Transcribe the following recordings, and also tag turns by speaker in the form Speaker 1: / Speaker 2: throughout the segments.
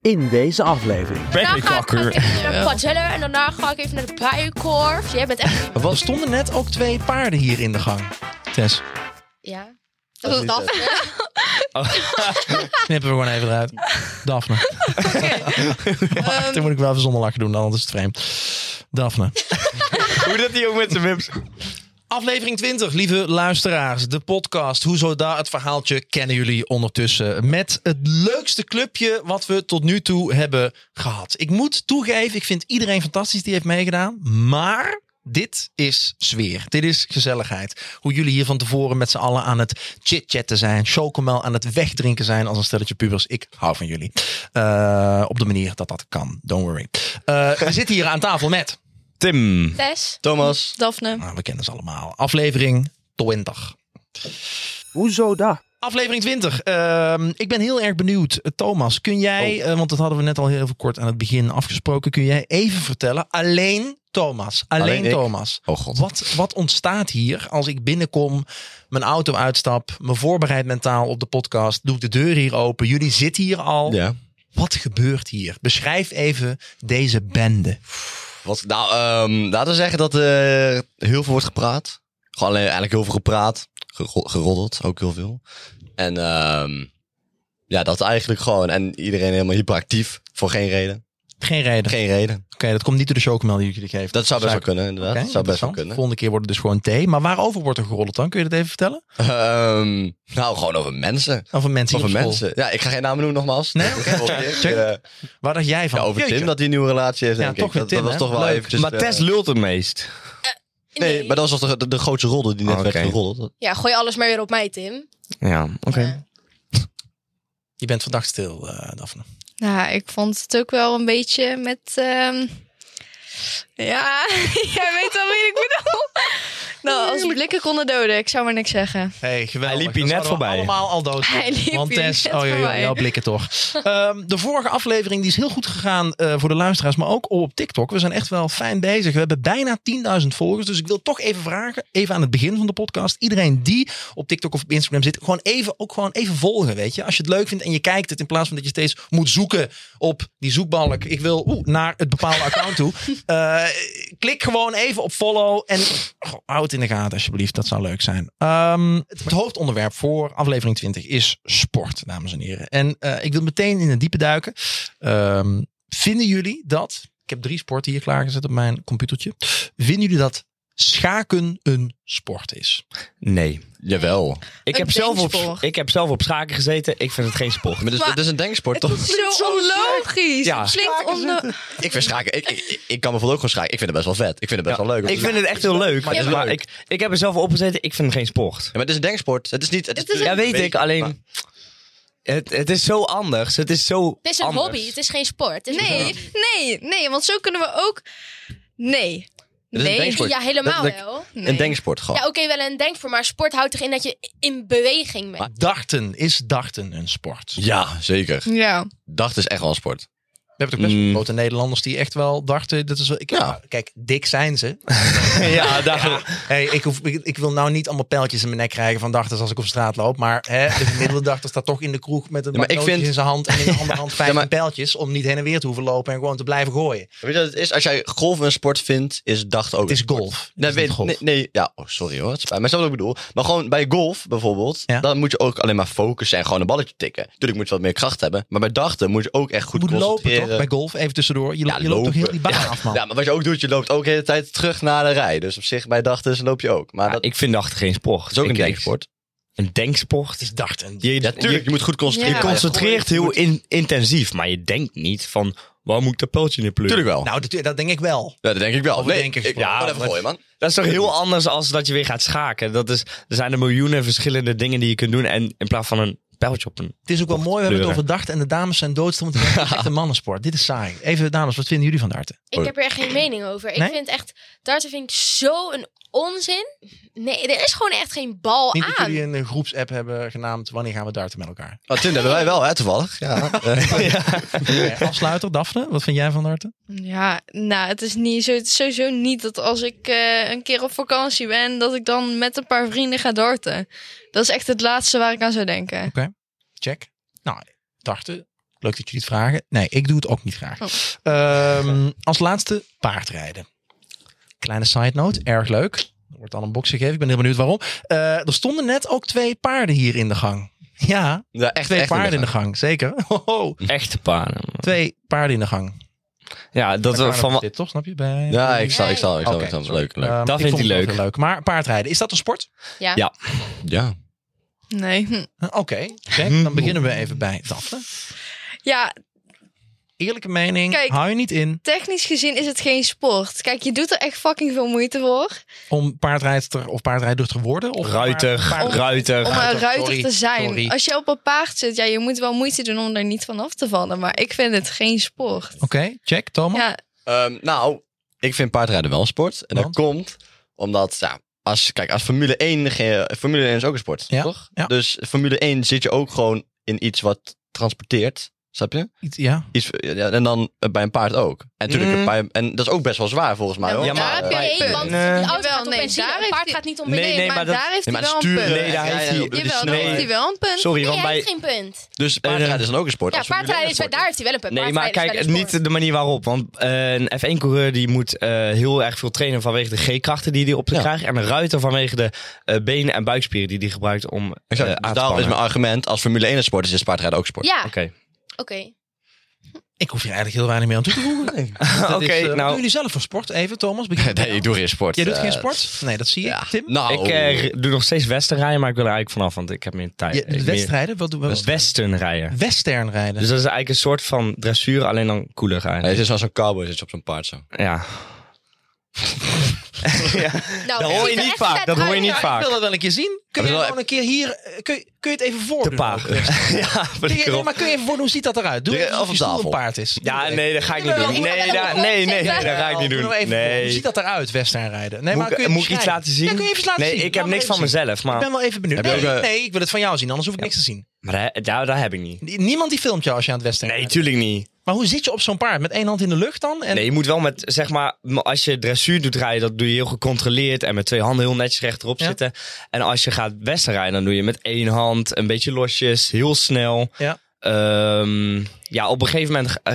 Speaker 1: in deze aflevering.
Speaker 2: Bradley
Speaker 3: Daarna Nou, ga ik, ga ik
Speaker 2: Tucker.
Speaker 3: even naar Quadzella en daarna ga ik even naar de Bijenkorf. Jij bent echt...
Speaker 2: Er stonden net ook twee paarden hier in de gang. Tess,
Speaker 3: Ja.
Speaker 4: Dat is
Speaker 3: Dat-
Speaker 4: niet
Speaker 2: knippen we gewoon even eruit. Daphne. Wacht, dan moet ik wel even zonder lakken doen, anders is het vreemd. Daphne.
Speaker 4: Hoe dat die ook met zijn webs.
Speaker 2: Aflevering 20, lieve luisteraars. De podcast Hoezo Daar het verhaaltje kennen jullie ondertussen. Met het leukste clubje wat we tot nu toe hebben gehad. Ik moet toegeven, ik vind iedereen fantastisch die heeft meegedaan. Maar dit is sfeer. Dit is gezelligheid. Hoe jullie hier van tevoren met z'n allen aan het chit-chatten zijn. Chocomel aan het wegdrinken zijn als een stelletje pubers. Ik hou van jullie. Eh, op de manier dat dat kan. Don't worry. Eh, we zitten hier aan tafel met...
Speaker 4: Tim.
Speaker 3: Tess.
Speaker 4: Thomas.
Speaker 3: Daphne.
Speaker 2: Nou, we kennen ze allemaal. Aflevering 20.
Speaker 1: Hoezo dat?
Speaker 2: Aflevering 20. Ehm, ik ben heel erg benieuwd. Eh, Thomas, kun jij,
Speaker 4: Oh.
Speaker 2: eh, want dat hadden we net al heel even kort aan het begin afgesproken, kun jij even vertellen, alleen Thomas, alleen,
Speaker 4: Alleen ik?
Speaker 2: Thomas,
Speaker 4: Oh god.
Speaker 2: wat, wat ontstaat hier als ik binnenkom, mijn auto uitstap, me voorbereid mentaal op de podcast, doe ik de deur hier open, jullie zitten hier al.
Speaker 4: Ja.
Speaker 2: Wat gebeurt hier? Beschrijf even deze bende.
Speaker 4: Wat, nou, ehm, laten we zeggen dat eh heel veel wordt gepraat. Gewoon alleen- eigenlijk heel veel gepraat. Gero- Geroddeld, ook heel veel. En ehm, ja, dat eigenlijk gewoon. En iedereen helemaal hyperactief. Voor geen reden.
Speaker 2: Geen reden.
Speaker 4: Geen reden.
Speaker 2: Oké, dat komt niet door de chocomel die ik jullie geef.
Speaker 4: Dat zou best wel
Speaker 2: Suiker.
Speaker 4: kunnen, inderdaad.
Speaker 2: Oké,
Speaker 4: dat zou best wel
Speaker 2: interessant.
Speaker 4: kunnen.
Speaker 2: Volgende keer wordt het dus gewoon thee. Maar waarover wordt er geroddeld dan? Kun je dat even vertellen?
Speaker 4: Ehm, nou, gewoon over mensen.
Speaker 2: Over mensen
Speaker 4: Over
Speaker 2: hier op school.
Speaker 4: mensen. Ja, ik ga geen namen noemen nogmaals.
Speaker 2: Nee,
Speaker 4: Dat
Speaker 2: oké.
Speaker 4: is wel keer.
Speaker 2: Check.
Speaker 4: Eh,
Speaker 2: Waar dacht jij van?
Speaker 4: ja, over
Speaker 2: Jeetje.
Speaker 4: Tim dat hij een nieuwe relatie heeft.
Speaker 2: Ja,
Speaker 4: denk
Speaker 2: toch
Speaker 4: ik.
Speaker 2: weer
Speaker 4: Dat,
Speaker 2: Tim,
Speaker 4: dat was
Speaker 2: hè?
Speaker 4: toch wel
Speaker 2: Leuk.
Speaker 4: eventjes...
Speaker 5: maar
Speaker 4: eh,
Speaker 5: Tess lult het meest.
Speaker 4: Nee, maar dat was toch de, de, de grootste roddel die net
Speaker 2: Ah,
Speaker 5: Oh,
Speaker 4: werd
Speaker 5: oké.
Speaker 4: geroddeld.
Speaker 3: Ja, gooi alles maar weer op mij, Tim.
Speaker 5: Ja, oké.
Speaker 2: Je bent vandaag stil, eh, Daphne.
Speaker 6: Nou, ik vond het ook wel een beetje met. ehm, Ja, jij weet wel wie ik bedoel. Nou, als blikken konden doden, ik zou maar niks zeggen.
Speaker 2: Hey, geweldig.
Speaker 5: Hij liep hier
Speaker 2: Dat
Speaker 5: net
Speaker 2: zouden we
Speaker 5: voorbij.
Speaker 2: allemaal al dood.
Speaker 6: Hij liep
Speaker 2: Want
Speaker 6: hier
Speaker 2: Tess,
Speaker 6: net
Speaker 2: oh joh, joh,
Speaker 6: voorbij.
Speaker 2: jouw blikken toch. Ehm, de vorige aflevering die is heel goed gegaan eh, voor de luisteraars, maar ook op TikTok. We zijn echt wel fijn bezig. We hebben bijna 10.000 volgers, dus ik wil toch even vragen, even aan het begin van de podcast, iedereen die op TikTok of op Instagram zit, gewoon even, ook gewoon even volgen, weet je. Als je het leuk vindt en je kijkt het, in plaats van dat je steeds moet zoeken op die zoekbalk, ik wil oeh, naar het bepaalde account toe. Eh, klik gewoon even op follow en goh, hou het in de gaten alsjeblieft. Dat zou leuk zijn. Ehm, het, het hoofdonderwerp voor aflevering 20 is sport, dames en heren. En eh, ik wil meteen in het diepe duiken. Ehm, vinden jullie dat, ik heb drie sporten hier klaargezet op mijn computertje. Vinden jullie dat schaken een sport is?
Speaker 5: Nee.
Speaker 4: Jawel.
Speaker 5: Ik
Speaker 6: Een
Speaker 5: heb, zelf op,
Speaker 6: denksport.
Speaker 5: ik heb zelf op schaken gezeten. Ik vind het geen sport.
Speaker 4: Maar dit, is-
Speaker 6: Maar-
Speaker 4: dit is een denksport, toch?
Speaker 6: Zo onlogisch.
Speaker 5: Ja.
Speaker 6: Het klinkt onlo-
Speaker 4: Ik vind schaken... Ik, ik, ik kan bijvoorbeeld ook gewoon schaken. Ik vind het best wel vet. Ik vind het best wel leuk.
Speaker 5: Ik vind het echt heel leuk. Maar,
Speaker 4: het is leuk.
Speaker 5: ik, ik heb er zelf op gezeten. Ik vind het geen sport.
Speaker 4: Ja, maar het is een denksport. Het is niet... Het is,
Speaker 5: Ja, weet ik. Alleen... Het, het is zo anders. Het is zo
Speaker 3: Het is een
Speaker 5: anders.
Speaker 3: hobby, het is geen sport. Het is
Speaker 6: Nee, nee, nee, want zo kunnen we ook. Nee.
Speaker 4: is een
Speaker 6: Nee.
Speaker 4: denksport.
Speaker 3: Ja, helemaal
Speaker 4: Dat- dat-
Speaker 3: wel.
Speaker 4: Een denksport gewoon.
Speaker 3: Ja, oké, wel een denksport, maar sport houdt erin dat je in beweging bent.
Speaker 2: Darten, is darten een sport? We
Speaker 4: Ja, zeker.
Speaker 6: Ja.
Speaker 4: Dacht is echt wel een sport.
Speaker 2: hebben toch best wel
Speaker 4: Mm.
Speaker 2: grote Nederlanders die echt wel darten. Dat is wel, ik,
Speaker 4: Ja.
Speaker 2: Kijk, dik zijn ze.
Speaker 5: ja, daar,
Speaker 4: Ah.
Speaker 2: Hey, ik, hoef, ik, ik wil nou niet allemaal pijltjes in mijn nek krijgen van darters als ik op straat loop. Maar hè, de gemiddelde darter staat toch in de kroeg met een
Speaker 4: Ja, maar ik
Speaker 2: baknootje
Speaker 4: vind-
Speaker 2: in zijn hand en in de andere hand vijf
Speaker 4: maar-
Speaker 2: pijltjes. Om niet heen en weer te hoeven lopen en gewoon te blijven gooien.
Speaker 4: Weet je wat het is? Als jij golf een sport vindt, is dacht ook...
Speaker 2: Het is golf.
Speaker 4: Nee,
Speaker 2: Het is niet
Speaker 4: weet,
Speaker 2: golf.
Speaker 4: nee, nee, ja, oh, sorry hoor. Het spijt me. Maar snap je wat ik bedoel? Maar gewoon bij golf bijvoorbeeld,
Speaker 2: Ja.
Speaker 4: dan moet je ook alleen maar focussen en gewoon een balletje tikken. Natuurlijk moet je wat meer kracht hebben, maar bij dachten moet je ook echt goed
Speaker 2: je moet lopen
Speaker 4: concentreren.
Speaker 2: toch? Bij golf even tussendoor. Je, lo-
Speaker 4: Ja,
Speaker 2: je loopt toch
Speaker 4: lopen.
Speaker 2: heel die baan
Speaker 4: Ja,
Speaker 2: af man.
Speaker 4: Ja, maar wat je ook doet, je loopt ook de hele tijd terug naar de rij. Dus op zich, bij dachten loop je ook. Maar
Speaker 5: Ja,
Speaker 4: dat
Speaker 5: ik vind dachten geen sport. Het
Speaker 4: is ook een denksport.
Speaker 5: Een denksport.
Speaker 2: Het is darten.
Speaker 5: Je,
Speaker 4: Ja, tuurlijk, je moet goed concentreren.
Speaker 5: je
Speaker 6: Ja.
Speaker 5: concentreert heel in, intensief. Maar je denkt niet van... Waar moet ik dat pijltje in pleuren?
Speaker 4: Tuurlijk wel.
Speaker 2: Nou, dat, dat denk ik wel.
Speaker 4: ja, dat denk ik wel.
Speaker 2: Over
Speaker 4: Nee,
Speaker 2: denken
Speaker 4: ik,
Speaker 2: gesproken.
Speaker 4: ja,
Speaker 5: Ja,
Speaker 4: even
Speaker 5: maar-
Speaker 4: gooien, man.
Speaker 5: Dat is toch heel anders als dat je weer gaat schaken. Dat is, er zijn er miljoenen verschillende dingen die je kunt doen. En in plaats van een pijltje op een...
Speaker 2: Het is ook wel mooi. We hebben het
Speaker 5: kleuren.
Speaker 2: over darten en de dames zijn doodstom. Want het is echt een mannensport. Dit is saai. Even dames, wat vinden jullie van darten?
Speaker 4: Oh,
Speaker 3: Ik heb er echt geen mening over. Ik
Speaker 2: Nee?
Speaker 3: vind echt, darten vind ik zo een onzin. Nee, er is gewoon echt geen bal
Speaker 2: Niet dat
Speaker 3: aan.
Speaker 2: jullie een eh, groepsapp hebben genaamd. Wanneer gaan we darten met elkaar?
Speaker 4: Maar Tim, Oh, dat hebben wij wel, hè, toevallig. Ja.
Speaker 2: Oké, Afsluiter, eh, Daphne, wat vind jij van darten?
Speaker 6: Ja, nou, het is, niet zo, het is sowieso niet dat als ik eh, een keer op vakantie ben, dat ik dan met een paar vrienden ga darten. Dat is echt het laatste waar ik aan zou denken.
Speaker 2: Check. Nou, darten. Leuk dat jullie het vragen. Nee, ik doe het ook niet graag. Ehm, als laatste paardrijden. Kleine side note, erg leuk. Er wordt dan een box gegeven. Ik ben heel benieuwd waarom. Eh, er stonden net ook twee paarden hier in de gang. Ja,
Speaker 4: Ja, echt,
Speaker 2: twee
Speaker 4: echt
Speaker 2: paarden in de gang. Zeker. Hoho.
Speaker 5: Echte paarden.
Speaker 2: Twee paarden in de gang.
Speaker 5: Ja, dat we
Speaker 2: van...
Speaker 5: van...
Speaker 2: dit toch, snap je? Bij...
Speaker 4: Ja, ik zal, ik zal, ik zal.
Speaker 2: Oké,
Speaker 4: ik zal.
Speaker 2: sorry.
Speaker 4: Leuk, leuk.
Speaker 2: Ehm,
Speaker 5: Dat
Speaker 2: ik
Speaker 5: vindt
Speaker 2: vond
Speaker 5: hij
Speaker 2: het
Speaker 5: leuk.
Speaker 2: wel leuk. Maar paardrijden, is dat een sport?
Speaker 3: Ja.
Speaker 5: Ja.
Speaker 4: ja.
Speaker 6: Nee. Hm.
Speaker 2: Eh, Oké, Jack, dan beginnen we even bij Daphne.
Speaker 6: Ja,
Speaker 2: Eerlijke mening,
Speaker 6: Kijk.
Speaker 2: hou je niet in
Speaker 6: technisch gezien is het geen sport. Kijk, je doet er echt fucking veel moeite voor.
Speaker 2: om paardrijder of paardrijder te worden? Of
Speaker 5: Ruiter,
Speaker 2: paard- paard-
Speaker 5: ruiter.
Speaker 6: Om een
Speaker 2: Ruiter,
Speaker 6: ruiter
Speaker 2: Ah, sorry,
Speaker 6: te zijn.
Speaker 2: sorry.
Speaker 6: Als je op een paard zit, ja, je moet wel moeite doen om er niet van af te vallen. Maar ik vind het geen sport.
Speaker 2: Oké, check, Thomas.
Speaker 6: Ja,
Speaker 4: Ehm, nou, ik vind paardrijden wel een sport. En
Speaker 2: Want?
Speaker 4: dat komt omdat, ja, als, kijk, als Formule 1, ge- Formule 1 is ook een sport,
Speaker 2: Ja,
Speaker 4: toch?
Speaker 2: ja.
Speaker 4: Dus Formule 1 zit je ook gewoon in iets wat transporteert, snap je?
Speaker 2: Iets- ja.
Speaker 4: Iets, ja, en dan eh, bij een paard ook. En, natuurlijk
Speaker 5: Mm.
Speaker 4: bij, en dat is ook best wel zwaar volgens mij,
Speaker 6: Ja,
Speaker 4: hoor.
Speaker 5: maar daar heb
Speaker 4: eh,
Speaker 5: je
Speaker 3: Nee,
Speaker 5: Nee.
Speaker 3: want
Speaker 5: Nee.
Speaker 3: een auto
Speaker 6: Jawel,
Speaker 3: gaat op
Speaker 6: nee,
Speaker 3: benzine,
Speaker 6: daar
Speaker 3: een
Speaker 6: heeft
Speaker 3: paard
Speaker 6: hij-
Speaker 3: gaat niet om
Speaker 5: Nee,
Speaker 3: benzine.
Speaker 5: nee,
Speaker 6: maar,
Speaker 5: maar dat-
Speaker 6: daar heeft
Speaker 4: Nee, maar
Speaker 6: hij wel
Speaker 4: het
Speaker 6: een
Speaker 4: sturen,
Speaker 6: punt.
Speaker 5: Nee, daar heeft hij-
Speaker 4: door die
Speaker 6: Jawel, daar
Speaker 4: snelheid.
Speaker 6: heeft hij wel een punt.
Speaker 5: Sorry,
Speaker 3: Nee,
Speaker 5: want
Speaker 3: hij heeft
Speaker 5: bij... Oh,
Speaker 3: geen punt.
Speaker 4: Dus paardrijden is dan ook een sport.
Speaker 3: Ja,
Speaker 4: als Formule 1
Speaker 3: paardrijden
Speaker 4: een
Speaker 3: is wel- daar
Speaker 4: sport
Speaker 3: heeft hij wel een punt.
Speaker 5: Nee, maar
Speaker 3: Paardrijden
Speaker 5: kijk,
Speaker 3: is wel een
Speaker 5: niet de manier waarop. Want eh, een F1-coureur die moet eh, heel erg veel trainen vanwege de G-krachten die hij op te
Speaker 4: Ja.
Speaker 5: krijgen. En een ruiter vanwege de eh, benen en buikspieren die hij gebruikt om
Speaker 4: is.
Speaker 5: eh,
Speaker 4: Exact.
Speaker 5: aan
Speaker 4: Dus
Speaker 5: te
Speaker 4: daarom is
Speaker 5: spannen.
Speaker 4: mijn argument, als Formule 1 een sport is, is paardrijden ook sport.
Speaker 3: sport. Ja,
Speaker 5: Oké,
Speaker 3: oké.
Speaker 2: Ik hoef hier eigenlijk heel weinig meer aan toe te voegen.
Speaker 5: Oké,
Speaker 2: Dat is, eh, wat
Speaker 5: nou-
Speaker 2: doen jullie zelf voor sport? Even, Thomas. Begin
Speaker 4: Nee, ik doe geen sport.
Speaker 2: Jij doet geen
Speaker 4: eh,
Speaker 2: sport? Nee, dat zie je.
Speaker 4: Ja.
Speaker 2: Tim?
Speaker 4: Nou,
Speaker 5: ik
Speaker 2: Oh.
Speaker 5: eh, doe nog steeds westernrijden, maar ik wil er eigenlijk vanaf, want ik heb meer tijd.
Speaker 2: Je,
Speaker 5: Ik meer
Speaker 2: wedstrijden? Wat doen we?
Speaker 5: westernrijden.
Speaker 2: Western rijden.
Speaker 5: Dus dat is eigenlijk een soort van dressuur, alleen dan cooler
Speaker 4: hij
Speaker 5: eigenlijk.
Speaker 4: zit zoals een cowboy zit je op zo'n paard zo.
Speaker 5: Ja.
Speaker 3: Nou,
Speaker 5: Dat hoor je
Speaker 3: ziet er
Speaker 5: niet
Speaker 3: echt
Speaker 5: vaak,
Speaker 3: vet
Speaker 5: dat hoor je
Speaker 3: uit,
Speaker 5: niet
Speaker 3: ja.
Speaker 5: vaak.
Speaker 2: Ik wil dat wel een keer zien. Kun je
Speaker 4: Maar wel-
Speaker 2: gewoon een keer hier... eh, kun, je- kun je het even
Speaker 5: Te
Speaker 2: voordoen?
Speaker 5: paard.
Speaker 2: Kun
Speaker 5: ja,
Speaker 2: je,
Speaker 5: flikker
Speaker 2: nee,
Speaker 5: op.
Speaker 2: maar kun je even voordoen hoe ziet dat eruit? Doe
Speaker 4: Direct
Speaker 2: alsof
Speaker 4: af
Speaker 2: je
Speaker 4: op
Speaker 2: stoel een
Speaker 4: tafel.
Speaker 2: paard is.
Speaker 5: Ja, nee, dat ga
Speaker 3: Ik
Speaker 5: ik
Speaker 3: wil
Speaker 5: niet
Speaker 3: wel-
Speaker 5: doen.
Speaker 3: ik wil
Speaker 5: Nee,
Speaker 3: wel
Speaker 5: daar-
Speaker 3: even
Speaker 5: nee, nee,
Speaker 3: opzetten.
Speaker 5: dat ga ik niet
Speaker 2: Doe
Speaker 5: doen.
Speaker 2: nou even voor. Hoe
Speaker 5: Nee.
Speaker 2: ziet dat eruit, western rijden? Nee,
Speaker 5: Moet
Speaker 2: maar kun
Speaker 5: ik-
Speaker 2: je
Speaker 5: moet ik iets
Speaker 2: beschrijven?
Speaker 5: laten zien?
Speaker 2: Ja, kun je even laten
Speaker 5: Nee,
Speaker 2: zien.
Speaker 5: ik heb
Speaker 2: Laat me
Speaker 5: niks van
Speaker 2: even zien.
Speaker 5: mezelf,
Speaker 2: Ik
Speaker 5: maar,
Speaker 2: ben wel even benieuwd.
Speaker 4: Heb je
Speaker 2: Nee,
Speaker 4: ook, eh,
Speaker 2: nee, ik wil het van jou zien, anders hoef ik niks te zien.
Speaker 5: maar daar, daar, daar heb ik niet.
Speaker 2: Niemand die filmt jou als je aan het western
Speaker 5: Nee,
Speaker 2: rijdt.
Speaker 5: tuurlijk niet.
Speaker 2: Maar hoe zit je op zo'n paard? Met één hand in de lucht dan? En
Speaker 5: Nee, je moet wel met, zeg maar, m- als je dressuur doet rijden, dat doe je heel gecontroleerd en met twee handen heel netjes rechterop
Speaker 2: Ja.
Speaker 5: zitten. En als je gaat westen rijden, dan doe je met één hand, een beetje losjes, heel snel.
Speaker 2: Ja.
Speaker 5: Ehm, ja, op een gegeven moment, eh,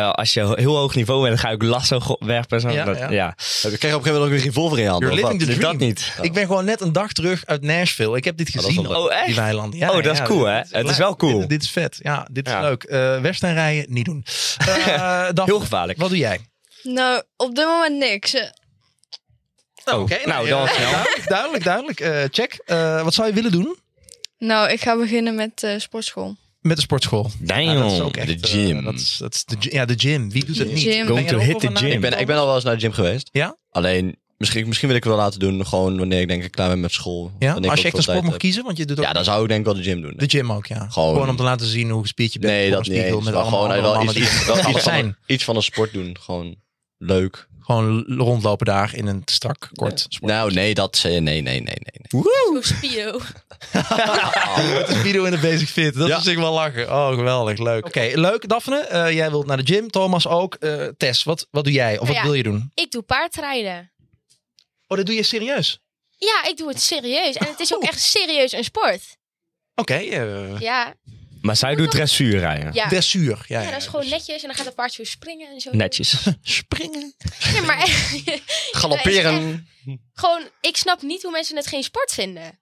Speaker 5: eh, als je ho- heel hoog niveau bent, dan ga ik lasso go- werpen. en Zo.
Speaker 2: Ja,
Speaker 5: dat,
Speaker 2: ja.
Speaker 5: ja.
Speaker 4: Heb je- Krijg je op een gegeven moment ook een revolver in je hand?
Speaker 2: You're
Speaker 4: of
Speaker 2: living
Speaker 4: wat?
Speaker 2: the
Speaker 4: Is
Speaker 2: dream.
Speaker 4: dat niet?
Speaker 2: Ik ben gewoon net een dag terug uit Nashville. Ik heb dit
Speaker 4: dat is
Speaker 2: gezien
Speaker 4: wel
Speaker 2: op
Speaker 5: leuk. Oh, echt?
Speaker 2: die weilanden.
Speaker 5: Oh, dat is cool, hè?
Speaker 2: dit
Speaker 5: Het is
Speaker 2: leuk.
Speaker 5: wel cool.
Speaker 2: Dit, dit is vet. Ja, dit is
Speaker 5: Ja.
Speaker 2: leuk. Eh Western rijden, niet doen. Eh, dan,
Speaker 5: Heel gevaarlijk.
Speaker 2: Wat doe jij?
Speaker 6: Nou, op dit moment niks. Eh,
Speaker 5: Oh, nou, dan
Speaker 2: eh,
Speaker 5: snel.
Speaker 2: Duidelijk, duidelijk. duidelijk. Eh, check. Eh, wat zou je willen doen
Speaker 6: Nou, ik ga beginnen met eh, sportschool.
Speaker 2: met de sportschool?
Speaker 5: Damn.
Speaker 2: Ja, dat is ook echt,
Speaker 4: de
Speaker 2: eh,
Speaker 4: gym.
Speaker 2: dat is, dat is de, gy- ja, de gym. Wie doet het niet?
Speaker 6: Gym.
Speaker 2: Ben jij
Speaker 5: Going Hmm. to
Speaker 2: er ook eh,
Speaker 5: hit
Speaker 2: over
Speaker 5: the
Speaker 2: na-
Speaker 5: gym.
Speaker 4: Ik ben, ik ben al wel eens naar de gym geweest.
Speaker 2: Ja?
Speaker 4: Alleen, misschien, misschien wil ik het wel laten doen. Gewoon wanneer ik denk ik klaar ben met school.
Speaker 2: Ja?
Speaker 4: Wanneer ik
Speaker 2: Als je
Speaker 4: ook
Speaker 2: echt een
Speaker 4: veel
Speaker 2: sport
Speaker 4: tijd
Speaker 5: eh,
Speaker 2: mag
Speaker 4: heb.
Speaker 2: kiezen, want je doet ook
Speaker 4: Ja, dan zou ik denk ik wel de gym doen.
Speaker 2: de gym ook, ja. Gewoon,
Speaker 4: Gewoon-
Speaker 2: om te laten zien hoe gespierd je bent.
Speaker 4: Nee,
Speaker 2: voor
Speaker 4: dat
Speaker 2: een
Speaker 4: niet
Speaker 2: spiegel
Speaker 4: eens.
Speaker 2: Met
Speaker 4: Maar
Speaker 2: allemaal
Speaker 4: gewoon
Speaker 2: andere
Speaker 4: wel iets,
Speaker 2: mannen die-
Speaker 4: wel
Speaker 2: die
Speaker 4: iets,
Speaker 2: het zijn.
Speaker 4: van, iets van een sport doen. Gewoon leuk.
Speaker 2: Gewoon l- rondlopen daar in een strak, kort sport.
Speaker 4: Nou, nee, dat... Nee, nee, nee, nee. nee.
Speaker 3: Zo'n spiro.
Speaker 2: Met een video in de Basic Fit. Dat
Speaker 4: Ja.
Speaker 2: is ik wel lachen. Oh, geweldig. Leuk. Oké, leuk. Daphne, eh, jij wilt naar de gym. Thomas ook. Eh, Tess, wat, wat doe jij? Of wat
Speaker 3: Ja.
Speaker 2: wil je doen?
Speaker 3: Ik doe paardrijden.
Speaker 2: Oh, dat doe je serieus?
Speaker 3: Ja, ik doe het serieus. En het is ook
Speaker 2: Oh.
Speaker 3: echt serieus een sport.
Speaker 2: Oké. eh
Speaker 3: Ja,
Speaker 5: Maar zij doet dressuur rijden.
Speaker 3: ja.
Speaker 2: Dressuur. Ja,
Speaker 3: Ja, dat is gewoon
Speaker 2: dus
Speaker 3: netjes. En dan gaat een paard zo springen en zo.
Speaker 5: Netjes.
Speaker 2: Springen.
Speaker 3: Nee, maar Nee,
Speaker 4: Galopperen.
Speaker 3: gewoon, ik snap niet hoe mensen het geen sport vinden.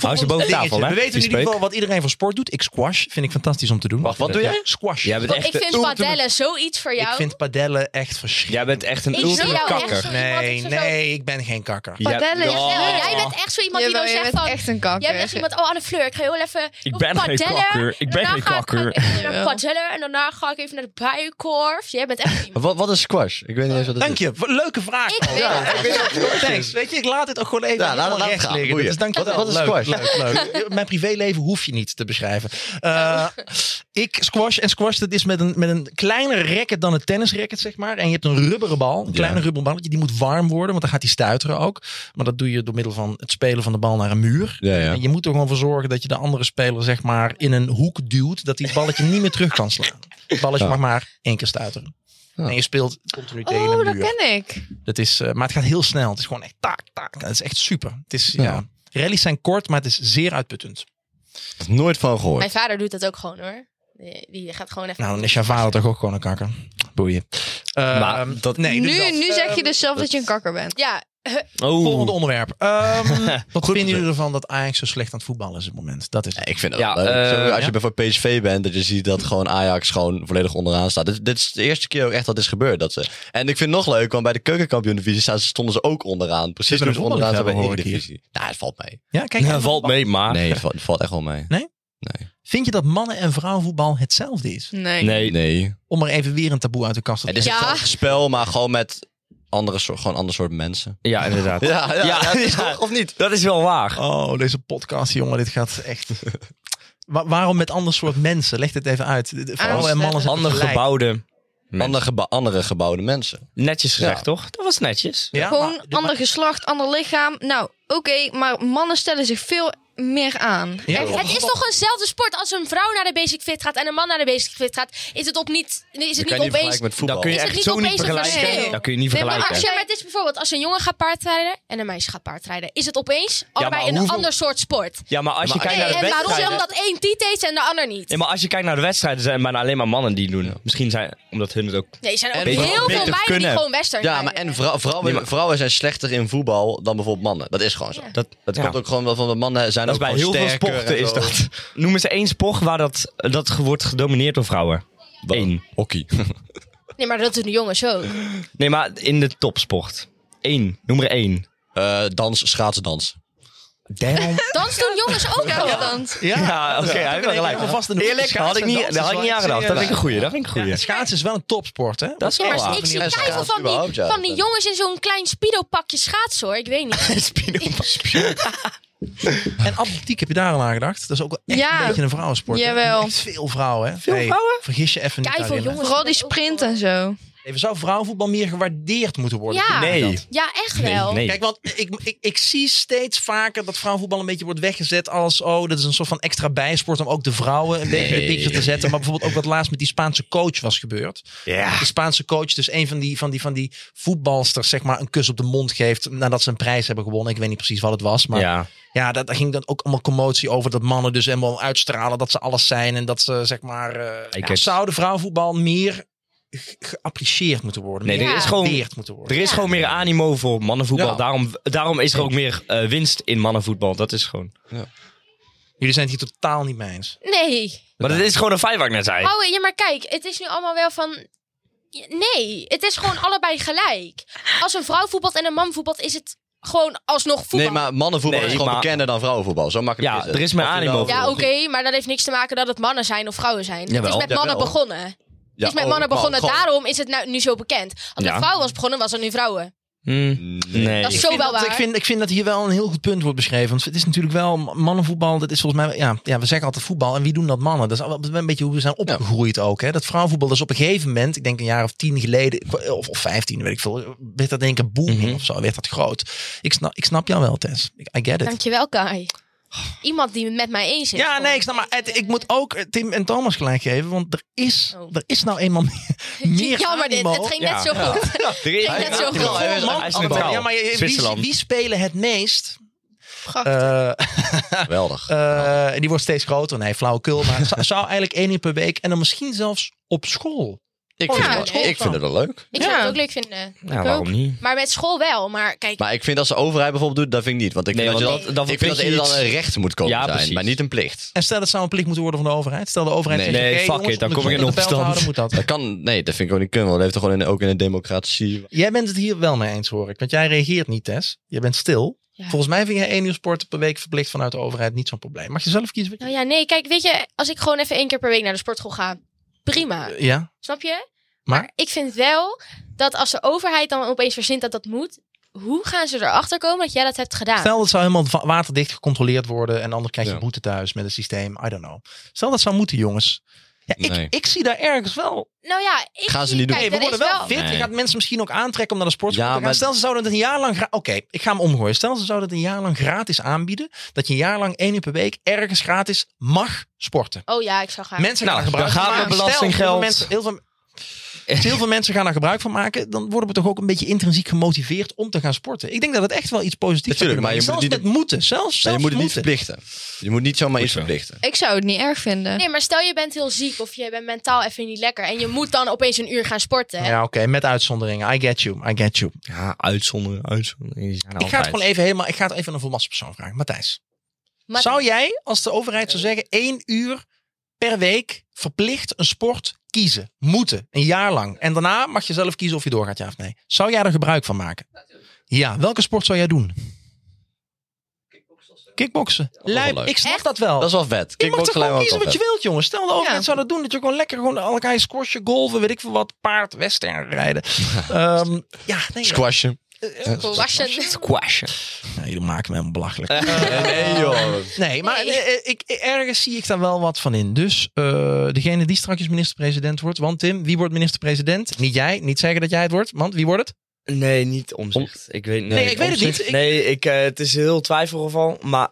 Speaker 5: Hou ze boven tafel, hè?
Speaker 2: We weten in
Speaker 5: Die
Speaker 2: ieder geval
Speaker 5: speuk.
Speaker 2: wat iedereen van sport doet. Ik squash vind ik fantastisch om te doen.
Speaker 4: Wacht, wat doe jij?
Speaker 2: Squash.
Speaker 5: Jij bent
Speaker 3: Want
Speaker 5: echt
Speaker 3: ik vind
Speaker 5: een
Speaker 3: padellen zoiets voor jou.
Speaker 2: Ik vind padellen echt verschrikkelijk.
Speaker 5: Jij bent echt een
Speaker 3: Ik zie
Speaker 5: ultieme
Speaker 3: jou echt
Speaker 5: kakker.
Speaker 3: zo- iemand
Speaker 2: Nee,
Speaker 3: is er zo-
Speaker 2: nee, ik ben geen kakker.
Speaker 5: Ja,
Speaker 6: Padellen is
Speaker 5: ja.
Speaker 3: Jawel,
Speaker 6: leuk.
Speaker 3: Jij bent echt zo iemand
Speaker 6: Jawel,
Speaker 3: die dan zegt
Speaker 6: jij bent
Speaker 3: van...
Speaker 6: echt een kakker.
Speaker 3: Jij bent echt iemand, oh aan de fleur, ik ga heel even
Speaker 5: Ik
Speaker 3: op
Speaker 5: ben geen
Speaker 3: padellen.
Speaker 5: kakker. Ik ben
Speaker 3: Daarna
Speaker 5: geen
Speaker 3: ga
Speaker 5: kakker.
Speaker 3: Ik even naar
Speaker 6: Jawel.
Speaker 3: padellen en daarna ga ik even naar de bijenkorf. Jij bent echt iemand.
Speaker 4: Wat, wat is squash? Ik weet niet eens wat het is.
Speaker 2: Dank je. Wat- Leuke vraag. Oh,
Speaker 3: Ik weet het.
Speaker 2: Thanks. Weet je, ik laat dit ook gewoon even
Speaker 4: Ja, laat-
Speaker 2: helemaal
Speaker 4: laat het
Speaker 2: rechts
Speaker 4: gaan.
Speaker 2: liggen.
Speaker 4: Boeien.
Speaker 2: Dus dank je
Speaker 4: Wat-
Speaker 2: wel.
Speaker 4: wat is
Speaker 2: leuk,
Speaker 4: squash?
Speaker 2: Leuk, leuk. Mijn privéleven hoef je niet te beschrijven. Eh, ik squash en squash, dat is met een, met een kleiner racket dan een tennisracket, zeg maar. En je hebt een rubberen bal, een kleine rubberen balletje. Die moet warm worden, want dan gaat die stuiteren ook. Maar dat doe je door middel van het spelen van de bal naar een muur.
Speaker 4: Ja, ja.
Speaker 2: En je moet er gewoon voor zorgen dat je de andere speler zeg maar in een hoek duwt. Dat die het balletje niet meer terug kan slaan. Het balletje
Speaker 4: Ja.
Speaker 2: mag maar één keer stuiteren.
Speaker 4: Ja.
Speaker 2: En je speelt continu tegen
Speaker 6: Oh,
Speaker 2: een
Speaker 6: dat
Speaker 2: muur.
Speaker 6: ken ik.
Speaker 2: Dat is, eh, maar het gaat heel snel. Het is gewoon echt taak, taak. Het is echt super. Het is, ja.
Speaker 4: Ja.
Speaker 2: Rallies zijn kort, maar het is zeer uitputtend.
Speaker 4: Nooit van gehoord.
Speaker 3: Mijn vader doet dat ook gewoon hoor. Die, die gaat gewoon even...
Speaker 2: Nou, dan is jouw vader toch ook gewoon een kakker. Boeien. Eh,
Speaker 5: Maar dat-
Speaker 2: nee, dus
Speaker 6: nu,
Speaker 2: dat.
Speaker 6: nu zeg je
Speaker 2: Ehm,
Speaker 6: dus zelf dat je een kakker bent.
Speaker 3: Ja,
Speaker 5: Oh.
Speaker 2: Volgende onderwerp. Ehm wat
Speaker 4: Goed.
Speaker 2: vinden jullie ervan dat Ajax zo slecht aan het voetballen is op het moment? Dat is het.
Speaker 4: Ik vind dat
Speaker 5: Ja,
Speaker 4: leuk.
Speaker 5: eh,
Speaker 4: Zo, als
Speaker 5: ja.
Speaker 4: je bijvoorbeeld PSV bent, dat je ziet dat gewoon Ajax gewoon volledig onderaan staat. Dit, dit is de eerste keer ook echt dat dit is gebeurd. Dat ze... En ik vind het nog leuk, want bij de keukenkampioen divisie stonden ze ook onderaan. Precies
Speaker 2: Ze
Speaker 4: toen
Speaker 2: hebben
Speaker 4: ze
Speaker 2: een
Speaker 4: onderaan
Speaker 2: voetballiefhebber,
Speaker 4: zaten bij
Speaker 2: hoor ik hier.
Speaker 4: divisie. Nou, het valt mee.
Speaker 2: Ja, kijk.
Speaker 5: Ja, valt mee,
Speaker 2: Ah.
Speaker 5: maar...
Speaker 4: Nee, het valt, het valt echt wel mee.
Speaker 2: Vind je dat mannen- en vrouwenvoetbal hetzelfde is?
Speaker 6: Nee.
Speaker 5: Nee.
Speaker 4: Nee.
Speaker 2: Om er even weer een taboe uit de kast te
Speaker 4: Het is
Speaker 2: trekken.
Speaker 6: Ja.
Speaker 4: hetzelfde spel, maar gewoon met andere soort, gewoon ander soort mensen.
Speaker 5: Ja, inderdaad.
Speaker 4: Ja, ja,
Speaker 5: Ja,
Speaker 4: ja, het is
Speaker 5: ja.
Speaker 4: toch, of niet?
Speaker 5: Dat is wel waar.
Speaker 2: Oh, deze podcast, jongen, dit gaat echt. Wa- waarom met ander soort mensen? Leg dit even uit. De- de Vrouwen en mannen zijn
Speaker 5: Ander
Speaker 2: gelijk.
Speaker 5: gebouwde.
Speaker 4: Andere, geba- andere gebouwde mensen.
Speaker 5: Netjes gezegd,
Speaker 4: Ja.
Speaker 5: toch? Dat was netjes.
Speaker 2: Ja,
Speaker 6: Gewoon
Speaker 2: maar-
Speaker 6: ander geslacht, ander lichaam. Nou, oké, maar mannen stellen zich veel meer aan.
Speaker 2: Ja,
Speaker 6: Echt.
Speaker 2: joh.
Speaker 3: Het is toch eenzelfde sport als een vrouw naar de basic fit gaat en een man naar de basic fit gaat. Is het, op niet, is
Speaker 4: Je
Speaker 3: het
Speaker 4: kan
Speaker 3: niet
Speaker 4: je niet
Speaker 3: opeens...
Speaker 4: vergelijken met voetbal.
Speaker 5: Dat kun je
Speaker 3: Is het
Speaker 5: echt
Speaker 3: niet
Speaker 5: zo niet
Speaker 3: opeens een
Speaker 5: vergelijken.
Speaker 3: verschil?
Speaker 5: Dat kun je niet
Speaker 3: Nee, maar
Speaker 5: vergelijken.
Speaker 3: als je, maar het is bijvoorbeeld als een jongen gaat paardrijden en een meisje gaat paardrijden, is het opeens allebei
Speaker 5: maar
Speaker 3: een
Speaker 5: hoeveel-
Speaker 3: ander soort sport.
Speaker 5: Ja, maar als je
Speaker 4: Ja, maar
Speaker 5: kijkt
Speaker 3: Nee,
Speaker 5: naar de
Speaker 3: en waarom?
Speaker 5: wedstrijden...
Speaker 3: Omdat één die deed en de ander niet.
Speaker 5: Nee, maar als je kijkt naar de wedstrijden, zijn het bijna alleen maar mannen die het doen. Misschien zijn, omdat hun het ook...
Speaker 3: Nee, er zijn ook
Speaker 4: En
Speaker 3: heel
Speaker 4: beter-
Speaker 3: veel
Speaker 5: beter
Speaker 3: meiden die
Speaker 5: kunnen.
Speaker 3: gewoon western
Speaker 4: Ja,
Speaker 3: rijden.
Speaker 4: maar en vrou- vrouwen,
Speaker 5: Nee, maar-
Speaker 4: vrouwen zijn slechter in voetbal dan bijvoorbeeld mannen. Dat is gewoon zo.
Speaker 5: Dat,
Speaker 4: Dat
Speaker 5: ja.
Speaker 4: komt ook gewoon wel van de mannen zijn
Speaker 5: Dat is
Speaker 4: ook
Speaker 5: bij heel
Speaker 4: gewoon
Speaker 5: veel
Speaker 4: sterker
Speaker 5: sporten
Speaker 4: en
Speaker 5: is
Speaker 4: zo.
Speaker 5: dat. Noem eens één sport waar dat, dat ge- wordt gedomineerd door vrouwen.
Speaker 4: Wat?
Speaker 5: Eén.
Speaker 4: Hockey.
Speaker 3: Nee, maar dat doen de jongens ook.
Speaker 5: Nee, maar in de topsport. Eén. Noem er één.
Speaker 4: Eh, dans, schaatsdans.
Speaker 2: Damn.
Speaker 3: Dans doen jongens ook wel.
Speaker 5: Ja, oké, hij heeft wel gelijk.
Speaker 2: helemaal vast in de
Speaker 5: Eerlijk,
Speaker 2: schaatsen
Speaker 5: had ik
Speaker 2: en
Speaker 5: niet,
Speaker 2: dansen
Speaker 5: daar
Speaker 2: is
Speaker 5: had
Speaker 2: wel
Speaker 5: ik niet aan
Speaker 2: iets
Speaker 5: gedacht. Dat
Speaker 2: serieus.
Speaker 5: vind ik een goeie, dat vind ik een goeie.
Speaker 2: Ja, schaatsen is wel een topsport, hè?
Speaker 5: Dat is
Speaker 3: Ja,
Speaker 5: wel
Speaker 3: maar
Speaker 5: waar.
Speaker 3: ik zie
Speaker 4: Ja,
Speaker 3: keiveel
Speaker 4: schaats
Speaker 3: van
Speaker 4: überhaupt,
Speaker 3: die,
Speaker 4: ja.
Speaker 3: van die jongens in zo'n klein speedo-pakje schaatsen hoor. Ik weet niet.
Speaker 2: En atletiek heb je daar al aan gedacht. Dat is ook wel echt
Speaker 6: Ja.
Speaker 2: een beetje een vrouwensport. hè?
Speaker 6: Jawel.
Speaker 2: Echt veel vrouwen, hè?
Speaker 5: Veel vrouwen?
Speaker 2: Vergis je even niet
Speaker 3: Keiveel
Speaker 2: daarin, hè?
Speaker 3: jongens.
Speaker 6: Vooral die sprint en zo.
Speaker 2: Even, zou vrouwenvoetbal meer gewaardeerd moeten worden?
Speaker 3: Ja.
Speaker 2: Vind jij dat?
Speaker 5: Nee.
Speaker 3: Ja, echt wel.
Speaker 5: Nee.
Speaker 2: Kijk, want ik, ik, ik zie steeds vaker dat vrouwenvoetbal een beetje wordt weggezet als... oh, dat is een soort van extra bijsport om ook de vrouwen een beetje in de picture te zetten. Maar bijvoorbeeld ook wat laatst met die Spaanse coach was gebeurd.
Speaker 5: Ja.
Speaker 2: De Spaanse coach dus een van die, van, die, van die voetbalsters zeg maar een kus op de mond geeft... nadat ze een prijs hebben gewonnen. Ik weet niet precies wat het was, maar...
Speaker 5: Ja.
Speaker 2: Ja, dat, daar ging dan ook allemaal commotie over. Dat mannen dus helemaal uitstralen dat ze alles zijn. En dat ze, zeg maar, eh,
Speaker 5: Ik
Speaker 2: ja,
Speaker 5: heb-
Speaker 2: zouden vrouwenvoetbal meer ge- geapprecieerd moeten worden.
Speaker 5: Nee,
Speaker 2: meer
Speaker 5: er
Speaker 3: Ja.
Speaker 5: is gewoon...
Speaker 2: gewaardeerd moeten worden.
Speaker 5: Er is gewoon meer animo voor mannenvoetbal.
Speaker 4: Ja.
Speaker 5: Daarom, daarom is er ook meer eh, winst in mannenvoetbal. Dat is gewoon.
Speaker 2: Jullie zijn het hier totaal niet mee eens.
Speaker 3: Nee.
Speaker 5: Maar dat is gewoon een feit wat ik net zei.
Speaker 3: Hou, Oh, ja, maar kijk, het is nu allemaal wel van. Nee, het is gewoon allebei gelijk. Als een vrouw voetbalt en een man voetbalt, is het gewoon alsnog voetbal.
Speaker 4: Nee, maar mannenvoetbal
Speaker 5: Nee,
Speaker 4: is gewoon
Speaker 5: maar-
Speaker 4: bekender dan vrouwenvoetbal. Zo makkelijk
Speaker 5: Ja,
Speaker 4: is het.
Speaker 5: er is meer
Speaker 4: Of je
Speaker 5: animo
Speaker 4: nou-
Speaker 5: voor.
Speaker 3: Ja, oké, maar dat heeft niks te maken dat het mannen zijn of vrouwen zijn. het
Speaker 4: Jawel.
Speaker 3: is met mannen
Speaker 4: Jawel.
Speaker 3: begonnen.
Speaker 4: Ja,
Speaker 3: het is
Speaker 4: oh,
Speaker 3: met mannen
Speaker 4: maar
Speaker 3: begonnen,
Speaker 4: gewoon-
Speaker 3: daarom is het nou, nu zo bekend. Als het
Speaker 5: Ja.
Speaker 3: met vrouwen was begonnen, was het nu vrouwen.
Speaker 5: Hmm. Nee.
Speaker 3: Dat is
Speaker 2: Ik
Speaker 3: zo
Speaker 2: vind
Speaker 3: wel
Speaker 2: dat-
Speaker 3: waar.
Speaker 2: Ik vind, ik vind dat hier wel een heel goed punt wordt beschreven. Want het is natuurlijk wel mannenvoetbal. Dat is volgens mij, ja, ja, we zeggen altijd voetbal. En wie doen dat mannen? Dat is al- een beetje hoe we zijn opgegroeid ook. Hè? Dat vrouwenvoetbal is op een gegeven moment, ik denk een jaar of tien geleden, of, of vijftien, weet ik veel, werd dat in één keer booming
Speaker 5: Mhm.
Speaker 2: of zo. Werd dat groot. Ik snap, ik snap jou wel, Tess. Ik- I get it.
Speaker 3: Dankjewel, Kai. Iemand die het met mij eens is.
Speaker 2: Ja, nee, ik snap maar. het- ik moet ook eh, Tim en Thomas gelijk geven, want er is,
Speaker 3: Oh.
Speaker 2: er is nou eenmaal meer, meer
Speaker 3: Jammer dit,
Speaker 2: animo.
Speaker 3: het ging net
Speaker 5: Ja.
Speaker 3: zo goed.
Speaker 5: Er is-
Speaker 3: Hij is
Speaker 5: Ja,
Speaker 3: neutraal,
Speaker 5: hij is-
Speaker 2: Man-
Speaker 5: hij is neutraal.
Speaker 2: Ja, maar je- wie-
Speaker 5: Zwitserland.
Speaker 2: Wie, spelen het meest?
Speaker 6: Prachtig.
Speaker 2: Eh,
Speaker 4: Geweldig.
Speaker 2: eh, en die wordt steeds groter. Nee, flauwekul. Maar het zou- zou eigenlijk één uur per week en dan misschien zelfs op school.
Speaker 4: ik,
Speaker 2: oh,
Speaker 4: vind
Speaker 3: ja,
Speaker 4: het, wel-
Speaker 3: ja.
Speaker 4: ik vind het wel leuk.
Speaker 3: Ik
Speaker 6: Ja.
Speaker 3: zou het ook leuk vinden.
Speaker 5: Ja, waarom niet?
Speaker 3: Maar met school wel. Maar kijk,
Speaker 4: Maar ik vind als de overheid bijvoorbeeld doet, dat vind ik niet. Want ik
Speaker 5: Nee,
Speaker 4: vind
Speaker 5: want
Speaker 4: dat, je
Speaker 5: dat-
Speaker 4: dat,
Speaker 5: dan
Speaker 4: ik vind dat
Speaker 5: verplicht
Speaker 4: er
Speaker 5: je
Speaker 4: dan
Speaker 5: iets.
Speaker 4: een recht moet komen
Speaker 5: Ja,
Speaker 4: zijn,
Speaker 5: precies.
Speaker 4: maar niet een plicht.
Speaker 2: En stel dat zou een plicht moeten worden van de overheid. Stel de overheid
Speaker 4: Nee.
Speaker 2: zegt,
Speaker 5: Nee,
Speaker 2: oké,
Speaker 5: fuck
Speaker 2: jongens,
Speaker 5: it, dan
Speaker 2: om de
Speaker 5: kom ik in
Speaker 2: gezondheid
Speaker 5: opstand.
Speaker 2: te houden, moet dat.
Speaker 4: Dat kan, nee, dat vind ik ook niet kunnen. Want dat heeft toch gewoon in, ook in een democratie.
Speaker 2: Jij bent het hier wel mee eens, hoor ik. Want jij reageert niet, Tess. Je bent stil.
Speaker 3: Ja.
Speaker 2: Volgens mij vind je één uur sporten per week verplicht vanuit de overheid niet zo'n probleem. Mag je zelf kiezen wat je...
Speaker 3: nou ja, nee, kijk, weet je, als ik gewoon even één keer per week naar de sportschool ga, prima.
Speaker 2: Ja,
Speaker 3: Snap je?
Speaker 2: Maar?
Speaker 3: ik vind wel dat als de overheid dan opeens verzint dat dat moet, hoe gaan ze erachter komen dat jij dat hebt gedaan?
Speaker 2: Stel dat zou helemaal va- waterdicht gecontroleerd worden en anders krijg je
Speaker 4: Ja.
Speaker 2: boete thuis met het systeem. I don't know. Stel dat zou moeten, jongens. Ja, ik,
Speaker 4: Nee.
Speaker 2: ik zie daar ergens wel.
Speaker 3: nou ja, ik
Speaker 4: Gaan ze
Speaker 3: zie-
Speaker 4: niet doen.
Speaker 2: Hey,
Speaker 3: kijk,
Speaker 2: we
Speaker 3: er
Speaker 2: worden
Speaker 3: is
Speaker 2: wel fit. Je
Speaker 4: Nee.
Speaker 2: gaat mensen misschien ook aantrekken om naar de sportschool
Speaker 4: Ja,
Speaker 2: te gaan.
Speaker 4: maar-
Speaker 2: Stel ze zouden het een jaar lang... gra- Oké, ik ga hem omgooien. Stel ze zouden het een jaar lang gratis aanbieden. Dat je een jaar lang één uur per week ergens gratis mag sporten.
Speaker 3: Oh ja, ik zou gaan.
Speaker 2: Mensen
Speaker 5: Nou,
Speaker 2: gaan gebruiken.
Speaker 5: dan gaan we
Speaker 2: maar stel, heel veel
Speaker 5: belastinggeld.
Speaker 2: mensen- heel veel- Als heel veel mensen gaan daar gebruik van maken, dan worden we toch ook een beetje intrinsiek gemotiveerd om te gaan sporten. Ik denk dat het echt wel iets positiefs is.
Speaker 4: Natuurlijk,
Speaker 2: Maar je
Speaker 4: maar
Speaker 2: zelfs
Speaker 4: je moet
Speaker 2: met moeten. Zelfs,
Speaker 4: Maar
Speaker 2: zelfs
Speaker 4: je moet het Oh. niet
Speaker 2: moeten.
Speaker 4: verplichten. Je moet niet zomaar iets
Speaker 5: zo.
Speaker 4: verplichten.
Speaker 6: Ik zou het niet erg vinden.
Speaker 3: Nee, maar stel je bent heel ziek of je bent mentaal even niet lekker. En je moet dan opeens een uur gaan sporten.
Speaker 2: Ja, oké, met uitzonderingen. I get you, I get you.
Speaker 5: Ja, uitzonderen, uitzonderen.
Speaker 2: Ik ga het gewoon even helemaal, ik ga het even aan een volwassen persoon vragen. Matthijs,
Speaker 3: Maar
Speaker 2: zou jij, als de overheid zou zeggen, één uur per week verplicht een sport kiezen, moeten, een jaar lang. En daarna mag je zelf kiezen of je doorgaat, ja of nee. Zou jij er gebruik van maken? Ja, welke sport zou jij doen? Kickboksen. Lijp,
Speaker 4: leuk.
Speaker 2: ik snap
Speaker 3: Echt?
Speaker 2: dat wel.
Speaker 4: Dat is wel vet.
Speaker 2: Je mag
Speaker 4: Kickboxen
Speaker 2: toch
Speaker 4: alleen
Speaker 2: gewoon
Speaker 4: maar
Speaker 2: kiezen
Speaker 4: wel
Speaker 2: wat je
Speaker 4: vet.
Speaker 2: wilt, jongen. Stel de overheid
Speaker 6: Ja.
Speaker 2: zou dat doen, dat je gewoon lekker gewoon elkaar squashen, golven, weet ik veel wat, paard, western rijden. Ehm, ja, nee.
Speaker 4: Squashen.
Speaker 2: eh, eh,
Speaker 3: Wassen.
Speaker 5: Quashen.
Speaker 2: Nee, jullie maken me helemaal belachelijk.
Speaker 4: Nee joh.
Speaker 2: Nee, maar
Speaker 3: Nee.
Speaker 2: eh, eh, ik, ergens zie ik daar wel wat van in. Dus eh, degene die straks minister-president wordt. Want Tim, wie wordt minister-president? Niet jij. Niet zeggen dat jij het wordt. Want wie wordt het?
Speaker 5: Nee, niet omzicht. Ik weet, nee,
Speaker 2: Nee, ik weet het
Speaker 5: Omtzigt-
Speaker 2: niet. Ik-
Speaker 5: Nee, ik, eh, het is heel twijfelgeval, maar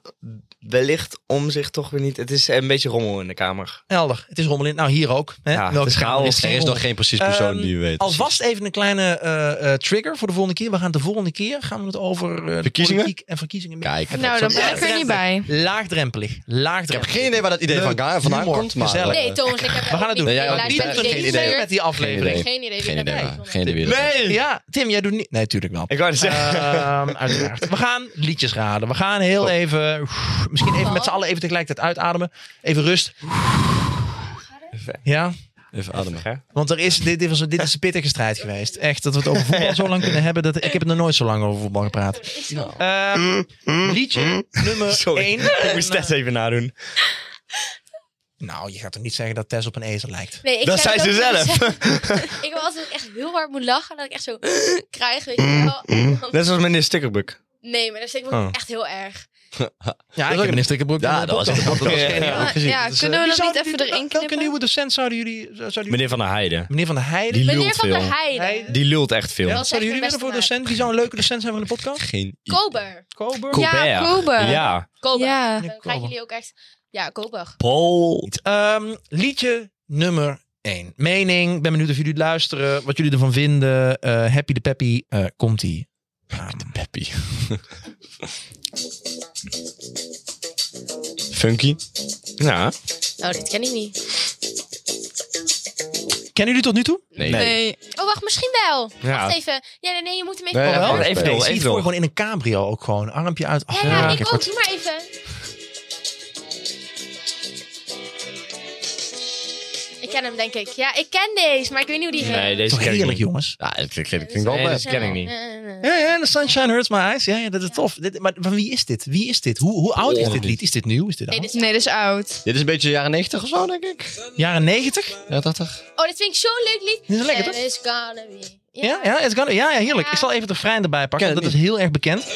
Speaker 5: wellicht omzicht toch weer niet. Het is een beetje rommel in de kamer.
Speaker 2: Helder. Het is rommel in. Nou, hier ook. Hè?
Speaker 5: Ja,
Speaker 2: Welke
Speaker 5: het is chaos.
Speaker 2: kamer
Speaker 4: Er
Speaker 2: geen
Speaker 4: is nog
Speaker 2: rommel?
Speaker 4: geen precies persoon
Speaker 2: Ehm,
Speaker 4: die je weet.
Speaker 2: Alvast even een kleine eh, eh, trigger voor de volgende keer. We gaan de volgende keer gaan we het over eh, de
Speaker 4: Verkiezingen?
Speaker 2: politiek en verkiezingen.
Speaker 4: Kijk.
Speaker 6: Nou, dan ben ik er niet bij.
Speaker 2: Laagdrempelig.
Speaker 4: Ik heb
Speaker 2: Laagdrempelig.
Speaker 4: geen idee waar dat idee
Speaker 2: Leuk,
Speaker 4: vandaan, vandaan
Speaker 2: humor,
Speaker 4: komt. Maar,
Speaker 2: gezellig.
Speaker 4: eh,
Speaker 3: Nee, Thomas, ik heb
Speaker 2: We gaan het doen.
Speaker 4: Nee, jij
Speaker 3: Geen
Speaker 4: ook niet.
Speaker 3: idee.
Speaker 4: Geen
Speaker 3: Geen
Speaker 4: idee.
Speaker 3: idee.
Speaker 2: met die aflevering.
Speaker 4: idee.
Speaker 3: Geen idee. wie
Speaker 4: Geen
Speaker 3: dat
Speaker 4: idee.
Speaker 3: is.
Speaker 4: waar- Geen idee. wie dat is.
Speaker 5: Nee!
Speaker 2: Ja, Tim, jij doet niet. Nee, tuurlijk wel.
Speaker 5: Ik wou het zeggen.
Speaker 2: Ehm, uiteraard. We gaan liedjes raden. We gaan
Speaker 5: Oh.
Speaker 2: heel even. Misschien even met z'n allen even tegelijkertijd uitademen. Even rust. Ja,
Speaker 4: Even ademen.
Speaker 2: want er is, dit, dit, was, een- dit is een pittige strijd geweest. Echt, dat we het over voetbal zo lang kunnen hebben. Dat, ik heb het nog nooit zo lang over voetbal gepraat. Ehm, liedje nummer
Speaker 5: Mm. Sorry,
Speaker 2: 1.
Speaker 5: ik moest Tess even nadoen.
Speaker 2: Nou, je gaat toch niet zeggen dat Tess op een ezel lijkt?
Speaker 3: Nee, ik
Speaker 5: Dat
Speaker 3: zei
Speaker 5: zei
Speaker 3: het
Speaker 5: ze
Speaker 3: ook niet. ik wil altijd echt heel hard moet lachen. Dat ik echt zo krijg, weet
Speaker 5: Mm,
Speaker 3: je wel.
Speaker 5: Net zoals meneer Stickerbuk.
Speaker 3: Nee, maar dat vind ik
Speaker 5: Oh.
Speaker 3: echt heel erg.
Speaker 2: Ja, ik heb een stickerbroek.
Speaker 4: Ja, dat was
Speaker 2: een
Speaker 4: ik. Dat was
Speaker 6: Ja, ja, kunnen we dat niet even erin
Speaker 2: Welke
Speaker 6: knippen?
Speaker 2: nieuwe docent zouden jullie... Zouden jullie
Speaker 5: Meneer Van der Heijden.
Speaker 2: meneer Van der Heijden?
Speaker 5: Die
Speaker 3: Meneer
Speaker 5: lult
Speaker 3: van der
Speaker 5: veel.
Speaker 3: Heijden.
Speaker 2: Heijden.
Speaker 5: Die lult echt veel.
Speaker 3: Ja. Dat is
Speaker 2: Zouden
Speaker 3: echt
Speaker 2: jullie
Speaker 3: mijn
Speaker 2: willen voor
Speaker 3: beste
Speaker 2: docent? Die zou een leuke docent zijn van de podcast?
Speaker 4: Geen idee.
Speaker 3: Kober.
Speaker 2: Kober?
Speaker 6: Ja,
Speaker 5: Colbert.
Speaker 6: Kober.
Speaker 5: Ja.
Speaker 3: Kober.
Speaker 6: Ja.
Speaker 3: Dan krijgen jullie ook echt... Ja, Kober.
Speaker 5: Paul.
Speaker 2: Ehm, liedje nummer 1. Mening. Ben benieuwd of jullie het luisteren. Wat jullie ervan vinden. Eh, Happy de Peppy. eh, Ehm, Komt-ie. Happy de Peppy.
Speaker 5: Funky. Ja.
Speaker 3: Oh, dit ken ik niet.
Speaker 2: Kennen jullie tot nu toe?
Speaker 4: Nee.
Speaker 6: Nee.
Speaker 3: Oh, wacht, misschien wel.
Speaker 5: Ja.
Speaker 3: Wacht even. Ja, nee, nee, je moet hem even...
Speaker 4: Nee,
Speaker 3: Oh,
Speaker 4: ja,
Speaker 2: wel?
Speaker 4: nee,
Speaker 5: Even
Speaker 4: nee.
Speaker 5: door,
Speaker 2: ik zie het voor
Speaker 5: even
Speaker 2: je
Speaker 5: door.
Speaker 2: gewoon in een cabrio ook gewoon. Armpje uit.
Speaker 3: Ja,
Speaker 2: Ach,
Speaker 3: ja,
Speaker 2: kijk
Speaker 3: ik ook.
Speaker 2: wat-
Speaker 3: Doe maar even. Ik ken hem, denk ik. Ja, ik ken deze, maar ik weet niet hoe die heet. Eh,
Speaker 5: Nee, deze
Speaker 2: Toch
Speaker 5: ken ik
Speaker 2: heerlijk,
Speaker 5: niet.
Speaker 2: jongens.
Speaker 4: Ja, dat klinkt, klinkt klinkt wel
Speaker 5: Nee, dat
Speaker 4: best.
Speaker 5: is- ken ik niet.
Speaker 2: Ja, ja, the sunshine hurts my eyes. Ja, ja dat is tof. Dit, maar van wie is dit? Wie is dit? Hoe, hoe oud is dit lied? Is dit nieuw? Is dit
Speaker 3: Nee,
Speaker 2: oud?
Speaker 3: dit is-
Speaker 6: Nee, dat is oud.
Speaker 4: Dit is een beetje jaren 90 of zo, denk ik.
Speaker 2: Jaren 90?
Speaker 4: Ja, 80.
Speaker 3: Oh, dit vind ik zo'n leuk lied.
Speaker 2: Dit is lekker,
Speaker 3: And
Speaker 2: toch?
Speaker 3: it's gonna be. Ja,
Speaker 2: Ja, ja, it's gonna- ja, ja heerlijk.
Speaker 3: Ja.
Speaker 2: Ik zal even de refrein erbij pakken.
Speaker 4: Ken
Speaker 2: want
Speaker 4: het
Speaker 2: Dat is heel erg
Speaker 3: Oh,
Speaker 2: bekend.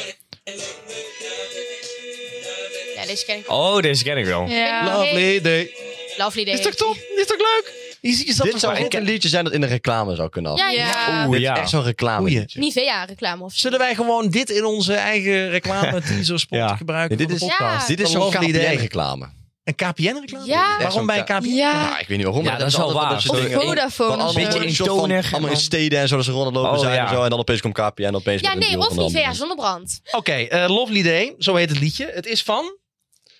Speaker 3: Ja, deze ken ik wel.
Speaker 5: Oh, deze ken ik wel.
Speaker 6: Ja.
Speaker 2: Lovely day.
Speaker 3: Lovely Day.
Speaker 2: Is toch top? Is toch leuk? Je ziet jezelf
Speaker 4: Dit zou
Speaker 2: erbij.
Speaker 4: ook een liedje zijn dat in een reclame zou kunnen af.
Speaker 3: Ja, ja.
Speaker 6: Ja.
Speaker 5: Oeh,
Speaker 4: Dit is
Speaker 5: ja.
Speaker 4: echt zo'n reclame liedje.
Speaker 3: Nivea-reclame of zo.
Speaker 2: Zullen wij gewoon dit in onze eigen reclame teaser spot
Speaker 5: Ja.
Speaker 2: gebruiken?
Speaker 4: Ja, dit
Speaker 2: voor de
Speaker 3: is-
Speaker 2: podcast?
Speaker 3: Ja.
Speaker 4: Dit is zo'n
Speaker 2: Lovely day.
Speaker 4: KPN-reclame.
Speaker 2: Een KPN-reclame?
Speaker 3: Ja.
Speaker 4: Echt
Speaker 2: Waarom
Speaker 4: zo'n
Speaker 2: bij een
Speaker 4: K-
Speaker 2: KPN?
Speaker 6: Ja.
Speaker 4: Ja, Ah, ik weet niet waarom.
Speaker 5: Ja,
Speaker 4: maar
Speaker 5: dat is wel
Speaker 4: altijd
Speaker 5: waar.
Speaker 4: dat
Speaker 6: Of
Speaker 4: soort dingen-
Speaker 6: Vodafone.
Speaker 4: Want
Speaker 6: of
Speaker 4: allemaal
Speaker 5: Beetje
Speaker 6: zo.
Speaker 4: een soort van
Speaker 5: eentonig,
Speaker 4: allemaal in
Speaker 5: man.
Speaker 4: steden en zo, dat ze rondlopen
Speaker 5: Oh,
Speaker 4: zijn
Speaker 5: ja.
Speaker 4: en zo. En dan opeens komt KPN en opeens
Speaker 3: Ja,
Speaker 4: met een
Speaker 3: nee,
Speaker 4: beeld
Speaker 3: of
Speaker 4: van de
Speaker 3: Nivea
Speaker 4: andere.
Speaker 3: zonnebrand.
Speaker 2: Oké, eh, Lovely Day. Zo heet het liedje. Het is van...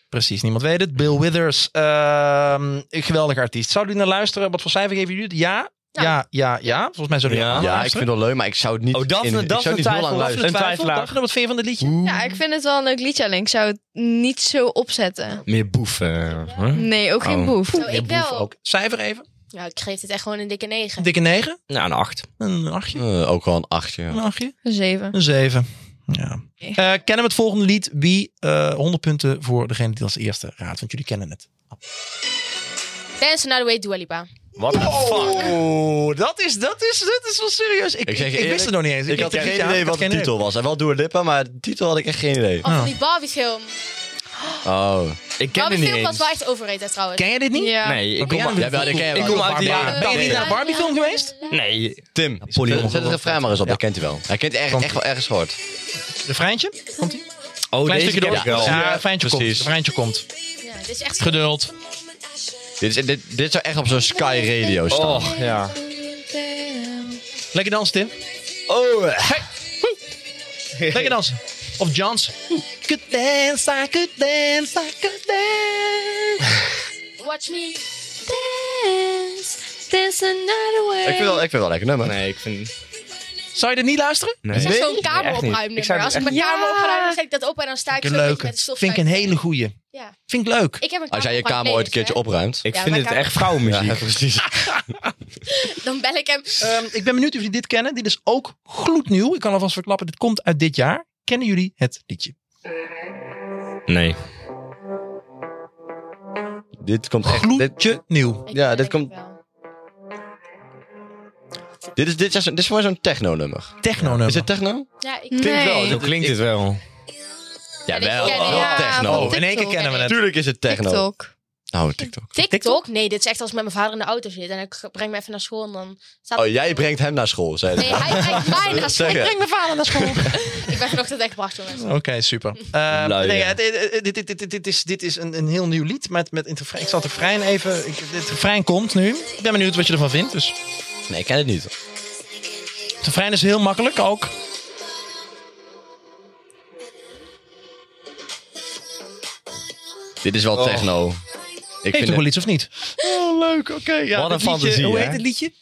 Speaker 2: Precies, niemand weet het. Bill Withers. ehm, een geweldige artiest. Zouden jullie naar luisteren? Wat voor cijfer geven jullie het? Ja?
Speaker 3: Ja.
Speaker 2: Ja, ja, ja. Volgens mij zouden jullie
Speaker 5: Ja.
Speaker 2: allemaal
Speaker 4: Ja, ik vind
Speaker 2: luisteren.
Speaker 4: het wel leuk, maar ik zou het niet...
Speaker 5: Oh, Daphne-
Speaker 4: in- ik
Speaker 5: Daphne
Speaker 4: zou niet heel lang
Speaker 5: twijfelt.
Speaker 4: luisteren.
Speaker 5: Een
Speaker 2: Twijfel,
Speaker 5: twijfelaar.
Speaker 2: Daphne, wat vind je van dit liedje?
Speaker 6: Ja, ik vind het wel een leuk liedje, alleen ik zou het niet zo opzetten.
Speaker 5: Meer boeven.
Speaker 6: Nee, ook geen
Speaker 5: Oh.
Speaker 6: boef.
Speaker 3: Zo, ik
Speaker 2: Boef
Speaker 3: wel.
Speaker 2: ook. Cijfer even.
Speaker 3: Ja, ik geef dit echt gewoon een dikke
Speaker 2: Een
Speaker 3: negen.
Speaker 2: dikke 9.
Speaker 5: Nou, een acht.
Speaker 2: Een achtje.
Speaker 4: Eh, ook wel een achtje.
Speaker 2: Een achtje.
Speaker 6: Een zeven.
Speaker 2: Een 7. Ja. Eh, kennen we het volgende lied? Wie eh 100 punten voor degene die als eerste raadt? Want jullie kennen het.
Speaker 3: Dance Another Way, Dua Lipa.
Speaker 5: Wat een fuck.
Speaker 2: Oeh, dat is, dat is, dat is wel serieus. Ik,
Speaker 4: Ik zeg
Speaker 2: ik,
Speaker 4: je
Speaker 2: Dus ik
Speaker 4: eerlijk,
Speaker 2: wist het nog niet eens.
Speaker 4: Ik had
Speaker 2: dacht,
Speaker 4: geen
Speaker 2: ja,
Speaker 4: idee
Speaker 2: ik
Speaker 4: wat
Speaker 2: had
Speaker 4: de
Speaker 2: geen idee.
Speaker 4: titel was. En wel Dua Lipa, maar de titel had ik echt geen idee.
Speaker 3: Of
Speaker 2: Ah.
Speaker 3: van die Barbie-film.
Speaker 4: Oh.
Speaker 5: Ik ken het niet
Speaker 3: Barbie-film was
Speaker 5: eens.
Speaker 3: wel echt overrated trouwens.
Speaker 2: Ken je dit niet?
Speaker 6: Ja.
Speaker 5: Nee, ik
Speaker 2: Oké,
Speaker 5: kom
Speaker 2: ja,
Speaker 5: uit-
Speaker 2: maar-
Speaker 4: Ja, wel, die ken je wel.
Speaker 5: ik kom uit de
Speaker 4: Ja,
Speaker 5: jaren
Speaker 2: Ben je niet naar een
Speaker 5: tachtig.
Speaker 2: Barbie-film geweest?
Speaker 5: Nee.
Speaker 4: Tim,
Speaker 5: Polly
Speaker 4: zet
Speaker 5: Ron-
Speaker 4: zet het refrein maar eens op,
Speaker 2: Ja.
Speaker 4: dat kent hij wel. Hij kent echt,
Speaker 2: Komt-
Speaker 4: echt wel ergens gehoord.
Speaker 2: De Vrijntje? Komt ie?
Speaker 5: Oh,
Speaker 2: Klein
Speaker 5: deze
Speaker 2: stukje
Speaker 5: ken
Speaker 2: door.
Speaker 5: ik wel.
Speaker 2: Ja, de Vrijntje komt.
Speaker 4: precies.
Speaker 2: De Vrijntje komt.
Speaker 3: Ja, dit is echt...
Speaker 2: Geduld.
Speaker 4: Dit, is, dit, dit zou echt op zo'n Sky Radio staan.
Speaker 5: Och, Oh, ja.
Speaker 6: Ja.
Speaker 2: Lekker dansen, Tim.
Speaker 4: Oh, eh,
Speaker 2: Lekker dansen. Of Jans. Good dance, I could dance, I could dance.
Speaker 3: Watch me.
Speaker 6: Dance, dance another way.
Speaker 4: ik, vind wel, ik vind wel een lekker nummer.
Speaker 5: Oh, Nee, ik vind...
Speaker 2: Zou je dit niet luisteren?
Speaker 5: Nee.
Speaker 3: Dat is
Speaker 5: Nee,
Speaker 3: zo'n
Speaker 5: echt niet. Ik
Speaker 3: kameropruimnummer.
Speaker 5: zou
Speaker 3: Als ik
Speaker 5: het
Speaker 3: mijn
Speaker 6: echt-
Speaker 3: kamer
Speaker 6: Ja.
Speaker 3: opruim, dan zet ik dat op en dan sta ik
Speaker 2: Vind
Speaker 3: zo
Speaker 2: ik een
Speaker 3: een beetje
Speaker 2: leuke.
Speaker 3: met de stofzuiger.
Speaker 2: Vind ik een hele goeie.
Speaker 3: Ja.
Speaker 2: Vind ik leuk.
Speaker 3: Ik heb een
Speaker 4: Als jij je
Speaker 3: op mijn
Speaker 4: kamer ooit een
Speaker 3: playlist,
Speaker 4: keertje
Speaker 3: dus, hè.
Speaker 4: opruimt.
Speaker 5: Ik
Speaker 3: Ja,
Speaker 5: vind
Speaker 3: maar
Speaker 5: het
Speaker 3: kan-
Speaker 5: echt vrouwenmuziek.
Speaker 4: Ja, precies.
Speaker 3: Dan bel ik hem.
Speaker 2: Ehm, ik ben benieuwd of jullie dit kennen. Dit is ook gloednieuw. Ik kan alvast verklappen, dit komt uit dit jaar. Kennen jullie het liedje?
Speaker 5: Nee.
Speaker 4: dit komt echt... Dit,
Speaker 2: Gloedje nieuw.
Speaker 3: Ik
Speaker 4: Ja,
Speaker 3: denk
Speaker 4: dit
Speaker 3: ik
Speaker 4: komt-
Speaker 3: wel.
Speaker 4: dit, is, dit, is, dit is voor mij zo'n techno-nummer.
Speaker 2: Techno nummer.
Speaker 4: Is het techno?
Speaker 3: Ja, ik...
Speaker 6: Nee.
Speaker 4: wel,
Speaker 5: Zo
Speaker 4: dit-
Speaker 5: klinkt
Speaker 4: ik-
Speaker 5: het wel.
Speaker 4: Ja,
Speaker 3: dit
Speaker 4: wel.
Speaker 3: ken ik.
Speaker 4: wel
Speaker 3: Ja,
Speaker 4: techno.
Speaker 2: Oh, in één keer
Speaker 6: TikTok.
Speaker 2: kennen we het.
Speaker 4: Tuurlijk is het techno.
Speaker 6: TikTok.
Speaker 4: Oh, TikTok.
Speaker 3: TikTok? Nee, dit is echt als ik met mijn vader in de auto zit. En ik breng me even naar school en dan staat...
Speaker 4: Oh, jij brengt hem naar school, zei hij.
Speaker 3: Nee, hij brengt mij naar school. Ik
Speaker 4: Zeggen. Oh.
Speaker 3: breng mijn vader naar school. ik ben vanochtend echt gebracht, jongens.
Speaker 2: Oké, super. Ehm,
Speaker 5: Lui,
Speaker 2: nee,
Speaker 5: ja.
Speaker 2: het- het- dit, dit, dit, dit, dit is, dit is een, een heel nieuw lied. Met, met in het refrein. Ik zal het refrein even... Ik, het refrein komt nu. Ik ben benieuwd wat je ervan vindt. Dus.
Speaker 4: Nee, ik ken het niet.
Speaker 2: Het refrein is heel makkelijk ook.
Speaker 4: Dit is wel techno. Ik
Speaker 2: Heeft
Speaker 4: vind
Speaker 2: toch wel
Speaker 4: het...
Speaker 2: iets of niet? Oh, leuk. Oké. ja,
Speaker 5: Wat een
Speaker 2: dit liedje-
Speaker 5: fantasie,
Speaker 2: Hoe
Speaker 5: hè?
Speaker 2: heet het liedje?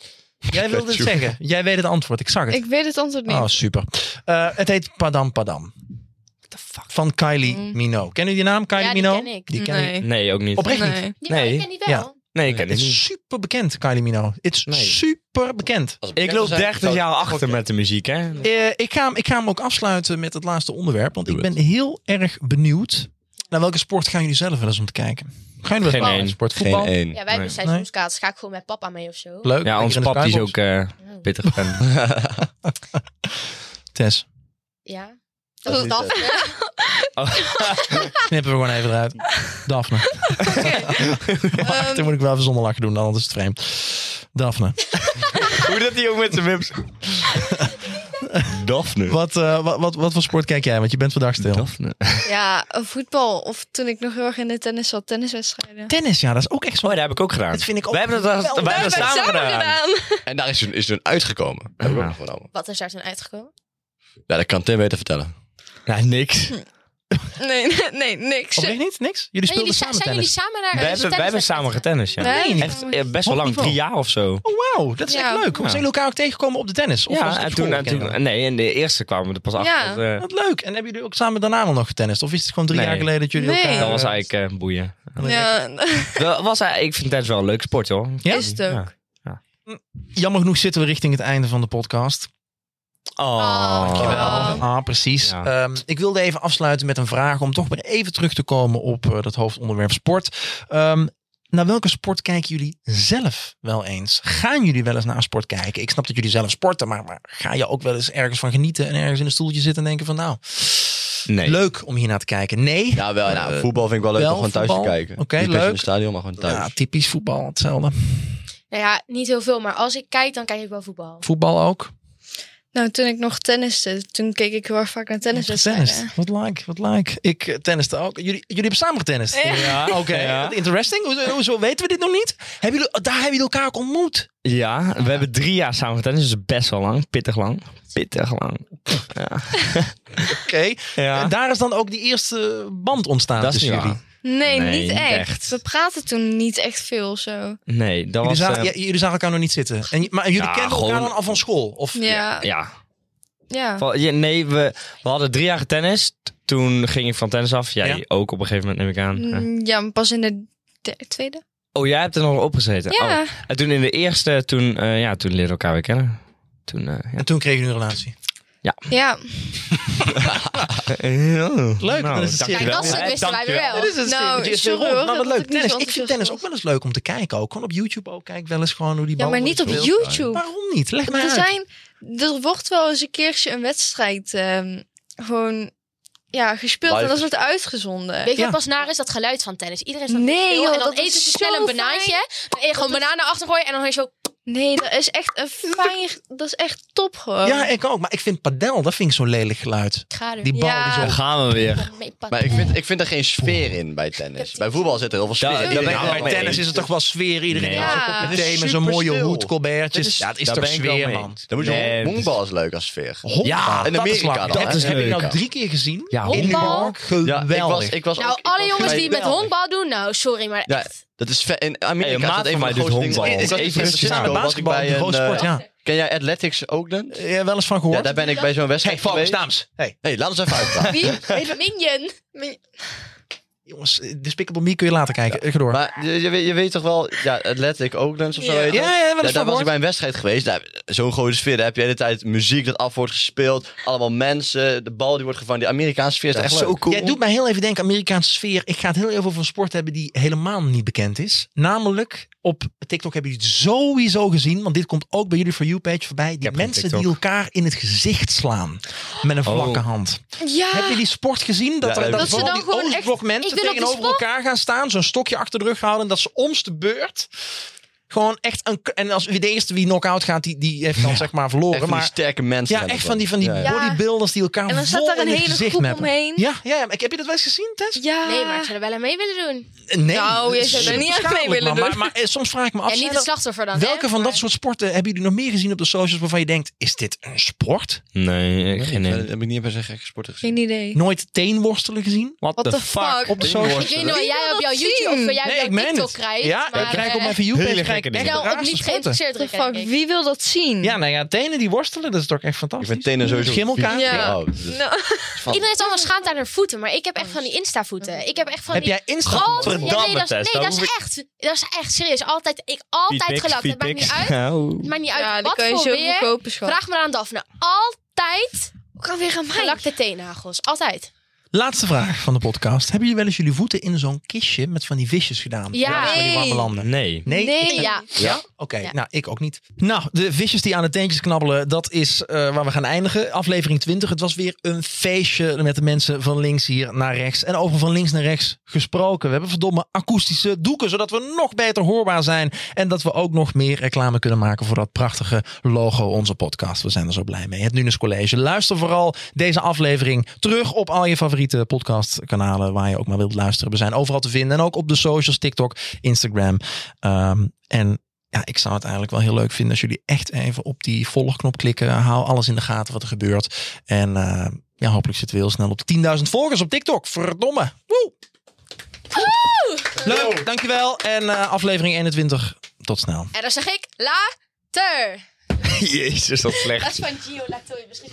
Speaker 2: Jij wilde het zeggen. Jij weet het antwoord. Ik zag het.
Speaker 6: Ik weet het antwoord niet.
Speaker 2: Oh, super. Eh, het heet Padam Padam. Van Kylie Minogue. Kennen jullie die naam, Kylie
Speaker 3: Mm. Ja, die
Speaker 2: Minogue?
Speaker 3: ken ik.
Speaker 2: Die ken ik.
Speaker 6: nee.
Speaker 5: Nee, ook niet.
Speaker 2: Oprecht niet.
Speaker 6: nee.
Speaker 3: Die
Speaker 5: Nee.
Speaker 3: nee. ik ken die wel.
Speaker 2: Ja.
Speaker 5: Nee, ik ken
Speaker 2: Het
Speaker 5: het
Speaker 2: is
Speaker 5: niet.
Speaker 2: super bekend, Kylie Minogue. Het is
Speaker 5: Nee.
Speaker 2: super bekend.
Speaker 4: Als het
Speaker 5: Ik
Speaker 4: bekend
Speaker 5: loop
Speaker 4: zou zijn,
Speaker 5: 30
Speaker 4: zou-
Speaker 5: jaar achter met de muziek, hè?
Speaker 2: Eh, ik, ga, hem- ik ga hem ook afsluiten met het laatste onderwerp. Want
Speaker 4: Doe
Speaker 2: ik
Speaker 4: het.
Speaker 2: ben heel erg benieuwd. Naar welke sport gaan jullie zelf wel eens om te kijken? Gaan jullie wel
Speaker 5: Geen
Speaker 2: eens
Speaker 5: één.
Speaker 2: sport
Speaker 4: Geen
Speaker 2: voetbal?
Speaker 4: één.
Speaker 3: Ja, wij hebben
Speaker 5: Nee.
Speaker 3: seizoenskaartjes. Ga ik gewoon met papa mee of zo.
Speaker 2: Leuk.
Speaker 5: Ja,
Speaker 2: ons
Speaker 5: onze pap die is ook eh, pittig fan.
Speaker 2: Tess,
Speaker 3: Ja.
Speaker 4: Dat
Speaker 3: Dat
Speaker 4: is
Speaker 3: is
Speaker 4: niet,
Speaker 3: dat.
Speaker 2: knippen we gewoon even eruit. Daphne.
Speaker 6: Ehm,
Speaker 2: Dan moet ik wel even zonder lachen doen, anders is het vreemd. Daphne.
Speaker 5: Hoe dat die ook met zijn wips. Daphne.
Speaker 2: Wat, eh, wat, wat, wat voor sport kijk jij? Want je bent vandaag stil.
Speaker 5: Daphne.
Speaker 6: ja, voetbal. Of toen ik nog heel erg in de tennis zat, tenniswedstrijden.
Speaker 2: Tennis, ja, dat is ook echt zo.
Speaker 5: Oh, dat heb ik ook gedaan.
Speaker 2: Dat vind ik ook
Speaker 5: We hebben dat
Speaker 2: geweldig.
Speaker 5: bijna
Speaker 2: Wij
Speaker 5: samen gedaan.
Speaker 4: En daar is toen, is toen uitgekomen. Heb ik ook nog vernomen.
Speaker 3: Wat is daar toen uitgekomen?
Speaker 4: Ja, dat kan Tim beter vertellen.
Speaker 5: Nou, niks.
Speaker 6: Nee, nee, nee, niks.
Speaker 2: Oprecht niet? Niks? Jullie
Speaker 3: En
Speaker 2: speelden
Speaker 3: jullie, sa-
Speaker 2: samen
Speaker 3: zijn jullie
Speaker 2: tennis?
Speaker 3: samen naar...
Speaker 5: Wij
Speaker 3: eh,
Speaker 5: hebben,
Speaker 3: zo'n
Speaker 5: wij hebben
Speaker 3: tenniswedstrijd
Speaker 5: samen
Speaker 3: gegaan?
Speaker 5: getest, ja.
Speaker 6: Nee,
Speaker 2: niet.
Speaker 5: Echt eh, best wel
Speaker 2: Op
Speaker 5: lang,
Speaker 2: niveau.
Speaker 5: drie jaar of zo.
Speaker 2: Oh, wauw. Dat is
Speaker 6: Ja.
Speaker 2: echt leuk. Hoe
Speaker 5: Ja.
Speaker 2: Zijn jullie elkaar ook tegengekomen op de tennis? Of was
Speaker 5: Ja,
Speaker 2: het
Speaker 5: en
Speaker 2: op
Speaker 5: toen,
Speaker 2: school?
Speaker 5: en toen, nee, in de eerste kwamen we er pas
Speaker 6: Ja.
Speaker 5: achter. Dat, eh,
Speaker 2: Wat leuk. En hebben jullie ook samen daarna nog nog getennist? Of is het gewoon drie
Speaker 5: Nee.
Speaker 2: jaar geleden dat jullie
Speaker 6: Nee.
Speaker 2: elkaar...
Speaker 5: dat was eigenlijk eh, boeien.
Speaker 6: Ja,
Speaker 5: Dat was, eh, ik vind tennis wel een leuk sport, hoor.
Speaker 2: Ja?
Speaker 6: is het ook.
Speaker 2: Jammer genoeg zitten we richting het einde van de podcast.
Speaker 5: Oh,
Speaker 3: dankjewel.
Speaker 2: Ah, precies.
Speaker 5: Ja.
Speaker 2: Ehm, ik wilde even afsluiten met een vraag om toch weer even terug te komen op eh, dat hoofdonderwerp sport. Ehm, naar welke sport kijken jullie zelf wel eens? Gaan jullie wel eens naar een sport kijken? Ik snap dat jullie zelf sporten, maar, maar ga je ook wel eens ergens van genieten en ergens in een stoeltje zitten en denken van nou,
Speaker 5: Nee.
Speaker 2: leuk om hier naar te kijken? Nee.
Speaker 4: Ja, wel. Nou, voetbal vind ik wel leuk
Speaker 2: wel,
Speaker 4: om gewoon thuis
Speaker 2: voetbal.
Speaker 4: te kijken.
Speaker 2: Oké,
Speaker 4: Niet per se in
Speaker 2: leuk.
Speaker 4: het stadion, maar gewoon thuis.
Speaker 2: Ja, typisch voetbal, hetzelfde.
Speaker 3: Nou ja, niet heel veel. Maar als ik kijk, dan kijk ik wel voetbal.
Speaker 2: Voetbal ook.
Speaker 6: Nou, toen ik nog tenniste, toen keek ik heel erg vaak naar tenniswedstrijden.
Speaker 2: Tennis. Wat like, wat like. Ik eh, tenniste ook. Jullie, jullie hebben samen getennist.
Speaker 5: Ja,
Speaker 2: Oké, wat interesting. Hoezo, hoezo weten we dit nog niet? Hebben jullie, daar hebben jullie elkaar ook ontmoet.
Speaker 5: Ja, we hebben drie jaar samen getennist, dus best wel lang. Pittig lang. Pittig lang.
Speaker 2: Oké.
Speaker 5: Ja.
Speaker 2: En daar is dan ook die eerste band ontstaan
Speaker 5: Dat is
Speaker 2: tussen
Speaker 5: niet
Speaker 2: jullie.
Speaker 5: Nee,
Speaker 6: Nee, niet
Speaker 5: niet
Speaker 6: echt.
Speaker 5: echt.
Speaker 6: We praten toen niet echt veel zo.
Speaker 5: Nee, dat
Speaker 2: Jullie
Speaker 5: was...
Speaker 2: zagen,
Speaker 5: eh,
Speaker 2: ja, jullie zagen elkaar nog niet zitten. En, je- maar jullie
Speaker 5: Ja,
Speaker 2: kenden elkaar
Speaker 5: gewoon-
Speaker 2: dan al van school? Of,
Speaker 6: Ja, ja.
Speaker 5: ja. Val- ja, nee, we, we hadden drie jaar getennist. Toen ging ik van tennis af. Jij
Speaker 2: Ja.
Speaker 5: ook op een gegeven moment, neem ik aan. Eh.
Speaker 6: Mm, ja maar pas in de derde- tweede.
Speaker 5: Oh, jij hebt er nog op gezeten?
Speaker 6: Ja.
Speaker 5: Oh. En toen in de eerste, toen, eh, ja, toen leerden we elkaar weer kennen. Toen, eh, ja.
Speaker 2: En toen kregen jullie een relatie.
Speaker 6: Ja.
Speaker 5: Eh,
Speaker 2: Leuk,
Speaker 5: Nou,
Speaker 2: dat is het
Speaker 5: dankjewel.
Speaker 3: Kijk, dat stuk wisten wij weer wel.
Speaker 2: Dit is het
Speaker 6: Nou,
Speaker 2: nou, is
Speaker 6: sorry
Speaker 2: rond.
Speaker 6: hoor,
Speaker 2: Maar wat
Speaker 6: dat
Speaker 2: leuk.
Speaker 6: ik niet
Speaker 2: Tennis.
Speaker 6: zo
Speaker 2: Ik vind tennis ook wel eens leuk om te kijken. Ook gewoon op YouTube ook. Kijk wel eens gewoon hoe die
Speaker 6: ja,
Speaker 2: bal
Speaker 6: maar
Speaker 2: wordt
Speaker 6: niet op
Speaker 2: gespeeld.
Speaker 6: YouTube.
Speaker 2: Waarom niet? Leg mij
Speaker 6: Er,
Speaker 2: uit.
Speaker 6: zijn, er wordt wel eens een keertje een wedstrijd ehm, gewoon ja, gespeeld
Speaker 4: Live.
Speaker 6: en dat wordt uitgezonden.
Speaker 3: Weet je
Speaker 2: Ja.
Speaker 3: wat pas naar is? Dat geluid van tennis. Iedereen staat
Speaker 6: Nee,
Speaker 3: stil
Speaker 6: joh,
Speaker 3: en dan
Speaker 6: dat
Speaker 3: eten
Speaker 6: is
Speaker 3: ze
Speaker 6: zo
Speaker 3: snel een banaantje. Dan eet je gewoon bananen achtergooien en dan hoor je zo...
Speaker 6: Nee, dat is echt een fijn... Dat is echt top gewoon.
Speaker 4: Ehm,
Speaker 2: Ja, ik ook. Maar ik vind padel, dat vind ik zo'n lelijk geluid.
Speaker 3: Ik ga er.
Speaker 2: Die bal
Speaker 6: Ja.
Speaker 2: die zo...
Speaker 5: Daar gaan we weer.
Speaker 3: mee pakken.
Speaker 4: Maar ik vind, ik vind er geen sfeer in bij tennis. Bij voetbal zit er heel veel sfeer
Speaker 5: Ja,
Speaker 4: in.
Speaker 5: daar ben ik
Speaker 2: Nou,
Speaker 5: wel
Speaker 2: bij
Speaker 5: mee
Speaker 2: tennis
Speaker 5: eens.
Speaker 2: is het toch wel sfeer. Iedereen
Speaker 5: Nee.
Speaker 2: heeft
Speaker 6: Ja.
Speaker 2: een kopje
Speaker 4: Het is
Speaker 2: thee met zo'n mooie
Speaker 4: superstil.
Speaker 2: hoed,
Speaker 4: Het
Speaker 2: colbertjes.
Speaker 4: is-
Speaker 2: Ja, het is
Speaker 5: daar
Speaker 2: toch
Speaker 5: ben ik wel
Speaker 2: sfeer,
Speaker 5: mee
Speaker 2: man.
Speaker 5: eens.
Speaker 4: Dan moet je
Speaker 5: Nee,
Speaker 4: honkbal is leuk als sfeer.
Speaker 2: Ja,
Speaker 4: in Amerika dan,
Speaker 2: Dat
Speaker 4: hè?
Speaker 2: is heb ik nou
Speaker 5: Leuk.
Speaker 2: drie keer gezien.
Speaker 5: Ja,
Speaker 2: in New
Speaker 3: honkbal.
Speaker 2: York.
Speaker 4: Ja, ik was,
Speaker 2: Geweldig.
Speaker 4: ik was
Speaker 3: Nou,
Speaker 4: ook- ik
Speaker 3: alle
Speaker 4: was
Speaker 3: jongens
Speaker 4: bij-
Speaker 3: die met honkbal doen, nou, sorry, maar
Speaker 4: Ja,
Speaker 3: echt.
Speaker 4: Dat is ver, in Amerika.
Speaker 5: Hey, een
Speaker 4: is
Speaker 5: maat
Speaker 4: dat
Speaker 5: van mij
Speaker 4: de
Speaker 5: doet
Speaker 4: grootste dingen.
Speaker 5: honkbal.
Speaker 4: Ik was in San
Speaker 2: Even
Speaker 4: Francisco, was ik
Speaker 2: basketbal,
Speaker 4: bij
Speaker 2: een
Speaker 4: een,
Speaker 2: groot sport,
Speaker 4: eh,
Speaker 2: ja.
Speaker 4: Ken jij athletics ook dan?
Speaker 2: Eh, Wel eens van
Speaker 4: Ja,
Speaker 2: gehoord?
Speaker 4: daar ben ik bij zo'n
Speaker 2: Hey,
Speaker 4: wedstrijd
Speaker 2: Valkens,
Speaker 4: geweest.
Speaker 2: dames. Hey,
Speaker 4: hey, laat ons even uitpraten.
Speaker 6: Wie? Minion. Min-
Speaker 2: jongens, eh, Despicable Me kun je later kijken. Ik ga door.
Speaker 4: Maar je, je, weet- je weet toch wel, ja, Athletic Oaklands of zo
Speaker 6: Ja.
Speaker 4: heet dat?
Speaker 2: Ja, ja, wel eens
Speaker 4: daar was
Speaker 2: van
Speaker 4: ik
Speaker 2: gehoord.
Speaker 4: bij een wedstrijd geweest. Daar- Zo'n grote sfeer, daar heb je de hele tijd muziek dat af wordt gespeeld. Allemaal mensen, de bal die wordt gevangen. Die Amerikaanse sfeer is echt leuk.
Speaker 2: Jij doet mij heel even denken aan Amerikaanse sfeer. Ik ga het heel even over een sport hebben die helemaal niet bekend is. Namelijk, op TikTok hebben jullie het sowieso gezien. Want dit komt ook bij jullie For You-page voorbij. Die
Speaker 5: heb geen
Speaker 2: mensen
Speaker 5: TikTok.
Speaker 2: die elkaar in het gezicht slaan. Met een vlakke
Speaker 5: Oh.
Speaker 2: hand.
Speaker 6: Ja.
Speaker 2: Heb je die sport gezien? Dat,
Speaker 4: Ja,
Speaker 2: er,
Speaker 4: dat
Speaker 2: dat
Speaker 4: ze
Speaker 2: vooral
Speaker 6: dan
Speaker 2: die
Speaker 6: gewoon echt-
Speaker 2: Oostblok
Speaker 3: Ik
Speaker 2: mensen
Speaker 3: wil op die
Speaker 2: tegenover
Speaker 3: sport.
Speaker 2: elkaar gaan staan. Zo'n stokje achter de rug houden. En dat ze om's de beurt... Gewoon echt een... En als wie de eerste wie knock-out gaat, die, die heeft dan zeg maar verloren.
Speaker 4: Echt van die
Speaker 2: maar
Speaker 4: sterke mensen.
Speaker 2: ja,
Speaker 4: hebben
Speaker 2: echt
Speaker 4: dat.
Speaker 2: van die, van die
Speaker 4: Ja, ja.
Speaker 6: Ja.
Speaker 2: bodybuilders die elkaar
Speaker 6: En dan
Speaker 2: vol
Speaker 6: staat daar
Speaker 2: in
Speaker 6: een
Speaker 2: het
Speaker 6: hele
Speaker 2: gezicht
Speaker 6: groep
Speaker 2: meppen.
Speaker 6: omheen.
Speaker 2: Ja, ja, ja, maar ik- heb je dat wel eens gezien, Tess?
Speaker 6: Ja.
Speaker 3: Nee, maar ik zou er wel aan mee willen doen.
Speaker 2: Nee.
Speaker 6: Nou, je
Speaker 2: dat is
Speaker 6: zou er niet aan mee
Speaker 2: schadelijk,
Speaker 6: willen
Speaker 2: maar,
Speaker 6: doen.
Speaker 2: Maar, maar, eh, soms vraag ik me af,
Speaker 3: en
Speaker 2: zijn
Speaker 3: niet de
Speaker 2: dat-
Speaker 3: slachtoffer dan.
Speaker 2: welke van dat soort sporten hebben jullie nog meer gezien op de socials waarvan je denkt, is dit een sport?
Speaker 5: Nee, ik
Speaker 4: Nee,
Speaker 5: geen
Speaker 4: dat
Speaker 5: idee.
Speaker 4: heb ik niet bij zijn gekke sporten gezien.
Speaker 6: Geen idee.
Speaker 2: Nooit teenworstelen gezien?
Speaker 5: What
Speaker 6: What the fuck?
Speaker 2: Op de
Speaker 3: Ik
Speaker 2: socials?
Speaker 3: weet niet wat
Speaker 6: Wie
Speaker 3: jij
Speaker 6: wil
Speaker 3: op
Speaker 6: dat
Speaker 3: jouw YouTube
Speaker 6: zien?
Speaker 3: of jij op
Speaker 2: Nee,
Speaker 3: jouw
Speaker 2: ik meen
Speaker 3: TikTok
Speaker 2: het.
Speaker 3: krijgt.
Speaker 2: Ja,
Speaker 3: maar,
Speaker 2: ik krijg op
Speaker 3: eh,
Speaker 2: mijn view-page
Speaker 5: Hele
Speaker 2: krijg ik
Speaker 5: gekke
Speaker 2: echt
Speaker 5: dingen.
Speaker 2: de
Speaker 3: Nou, ook
Speaker 2: raarste
Speaker 3: niet
Speaker 2: sporten.
Speaker 3: geïnteresseerd
Speaker 6: What
Speaker 3: terug.
Speaker 6: the fuck? Wie wil dat zien?
Speaker 2: Ja, nou ja, tenen die worstelen, dat is toch echt
Speaker 4: Ik
Speaker 2: fantastisch.
Speaker 4: vind tenen sowieso...
Speaker 2: Schimmelkaart.
Speaker 4: vies.
Speaker 6: Ja.
Speaker 4: Oh, dat is-
Speaker 6: Nou,
Speaker 4: van-
Speaker 3: Iedereen is allemaal schaamd aan haar voeten, maar ik heb echt van die Insta-voeten. Ik heb echt van
Speaker 2: Heb
Speaker 3: die...
Speaker 2: jij Insta?
Speaker 3: Groot, ja,
Speaker 5: Godverdamme,
Speaker 3: nee, dat,
Speaker 5: Tess,
Speaker 3: nee,
Speaker 5: daar
Speaker 3: dat is
Speaker 5: hoef
Speaker 3: echt, dat is echt serieus. Altijd, ik altijd gelakt. Het maakt niet uit,
Speaker 5: Nou.
Speaker 3: het maakt niet uit
Speaker 6: ja, die
Speaker 3: wat
Speaker 6: kan je
Speaker 3: voor
Speaker 6: zo
Speaker 3: weer.
Speaker 6: verkopen, schat.
Speaker 3: Vraag maar aan Daphne. Altijd
Speaker 6: Ik kan weer aan mij.
Speaker 3: gelakte teennagels. Altijd.
Speaker 2: Laatste vraag van de podcast. Hebben jullie wel eens jullie voeten in zo'n kistje met van die visjes gedaan?
Speaker 3: Ja.
Speaker 2: Voor die warme landen.
Speaker 5: Nee.
Speaker 2: Nee,
Speaker 6: Nee.
Speaker 2: ik-
Speaker 3: Ja.
Speaker 2: Ja? Oké,
Speaker 3: Ja.
Speaker 2: nou ik ook niet. Nou, de visjes die aan de teentjes knabbelen, dat is eh, waar we gaan eindigen. Aflevering 20. Het was weer een feestje met de mensen van links hier naar rechts. En over van links naar rechts gesproken. We hebben verdomme akoestische doeken, zodat we nog beter hoorbaar zijn. En dat we ook nog meer reclame kunnen maken voor dat prachtige logo, onze podcast. We zijn er zo blij mee. Het Nunes College. Luister vooral deze aflevering terug op al je favoriete podcastkanalen waar je ook maar wilt luisteren. We zijn overal te vinden en ook op de socials, TikTok, Instagram. Ehm, en ja, ik zou het eigenlijk wel heel leuk vinden als jullie echt even op die volgknop klikken. Hou alles in de gaten wat er gebeurt. En eh, ja, hopelijk zitten we heel snel op de 10.000 volgers op TikTok. Verdomme. Woe! Leuk, dankjewel. En eh, aflevering 21. Tot snel.
Speaker 3: En dan zeg ik later.
Speaker 5: Jezus, dat is slecht.
Speaker 3: Dat is van Gio Latoy misschien.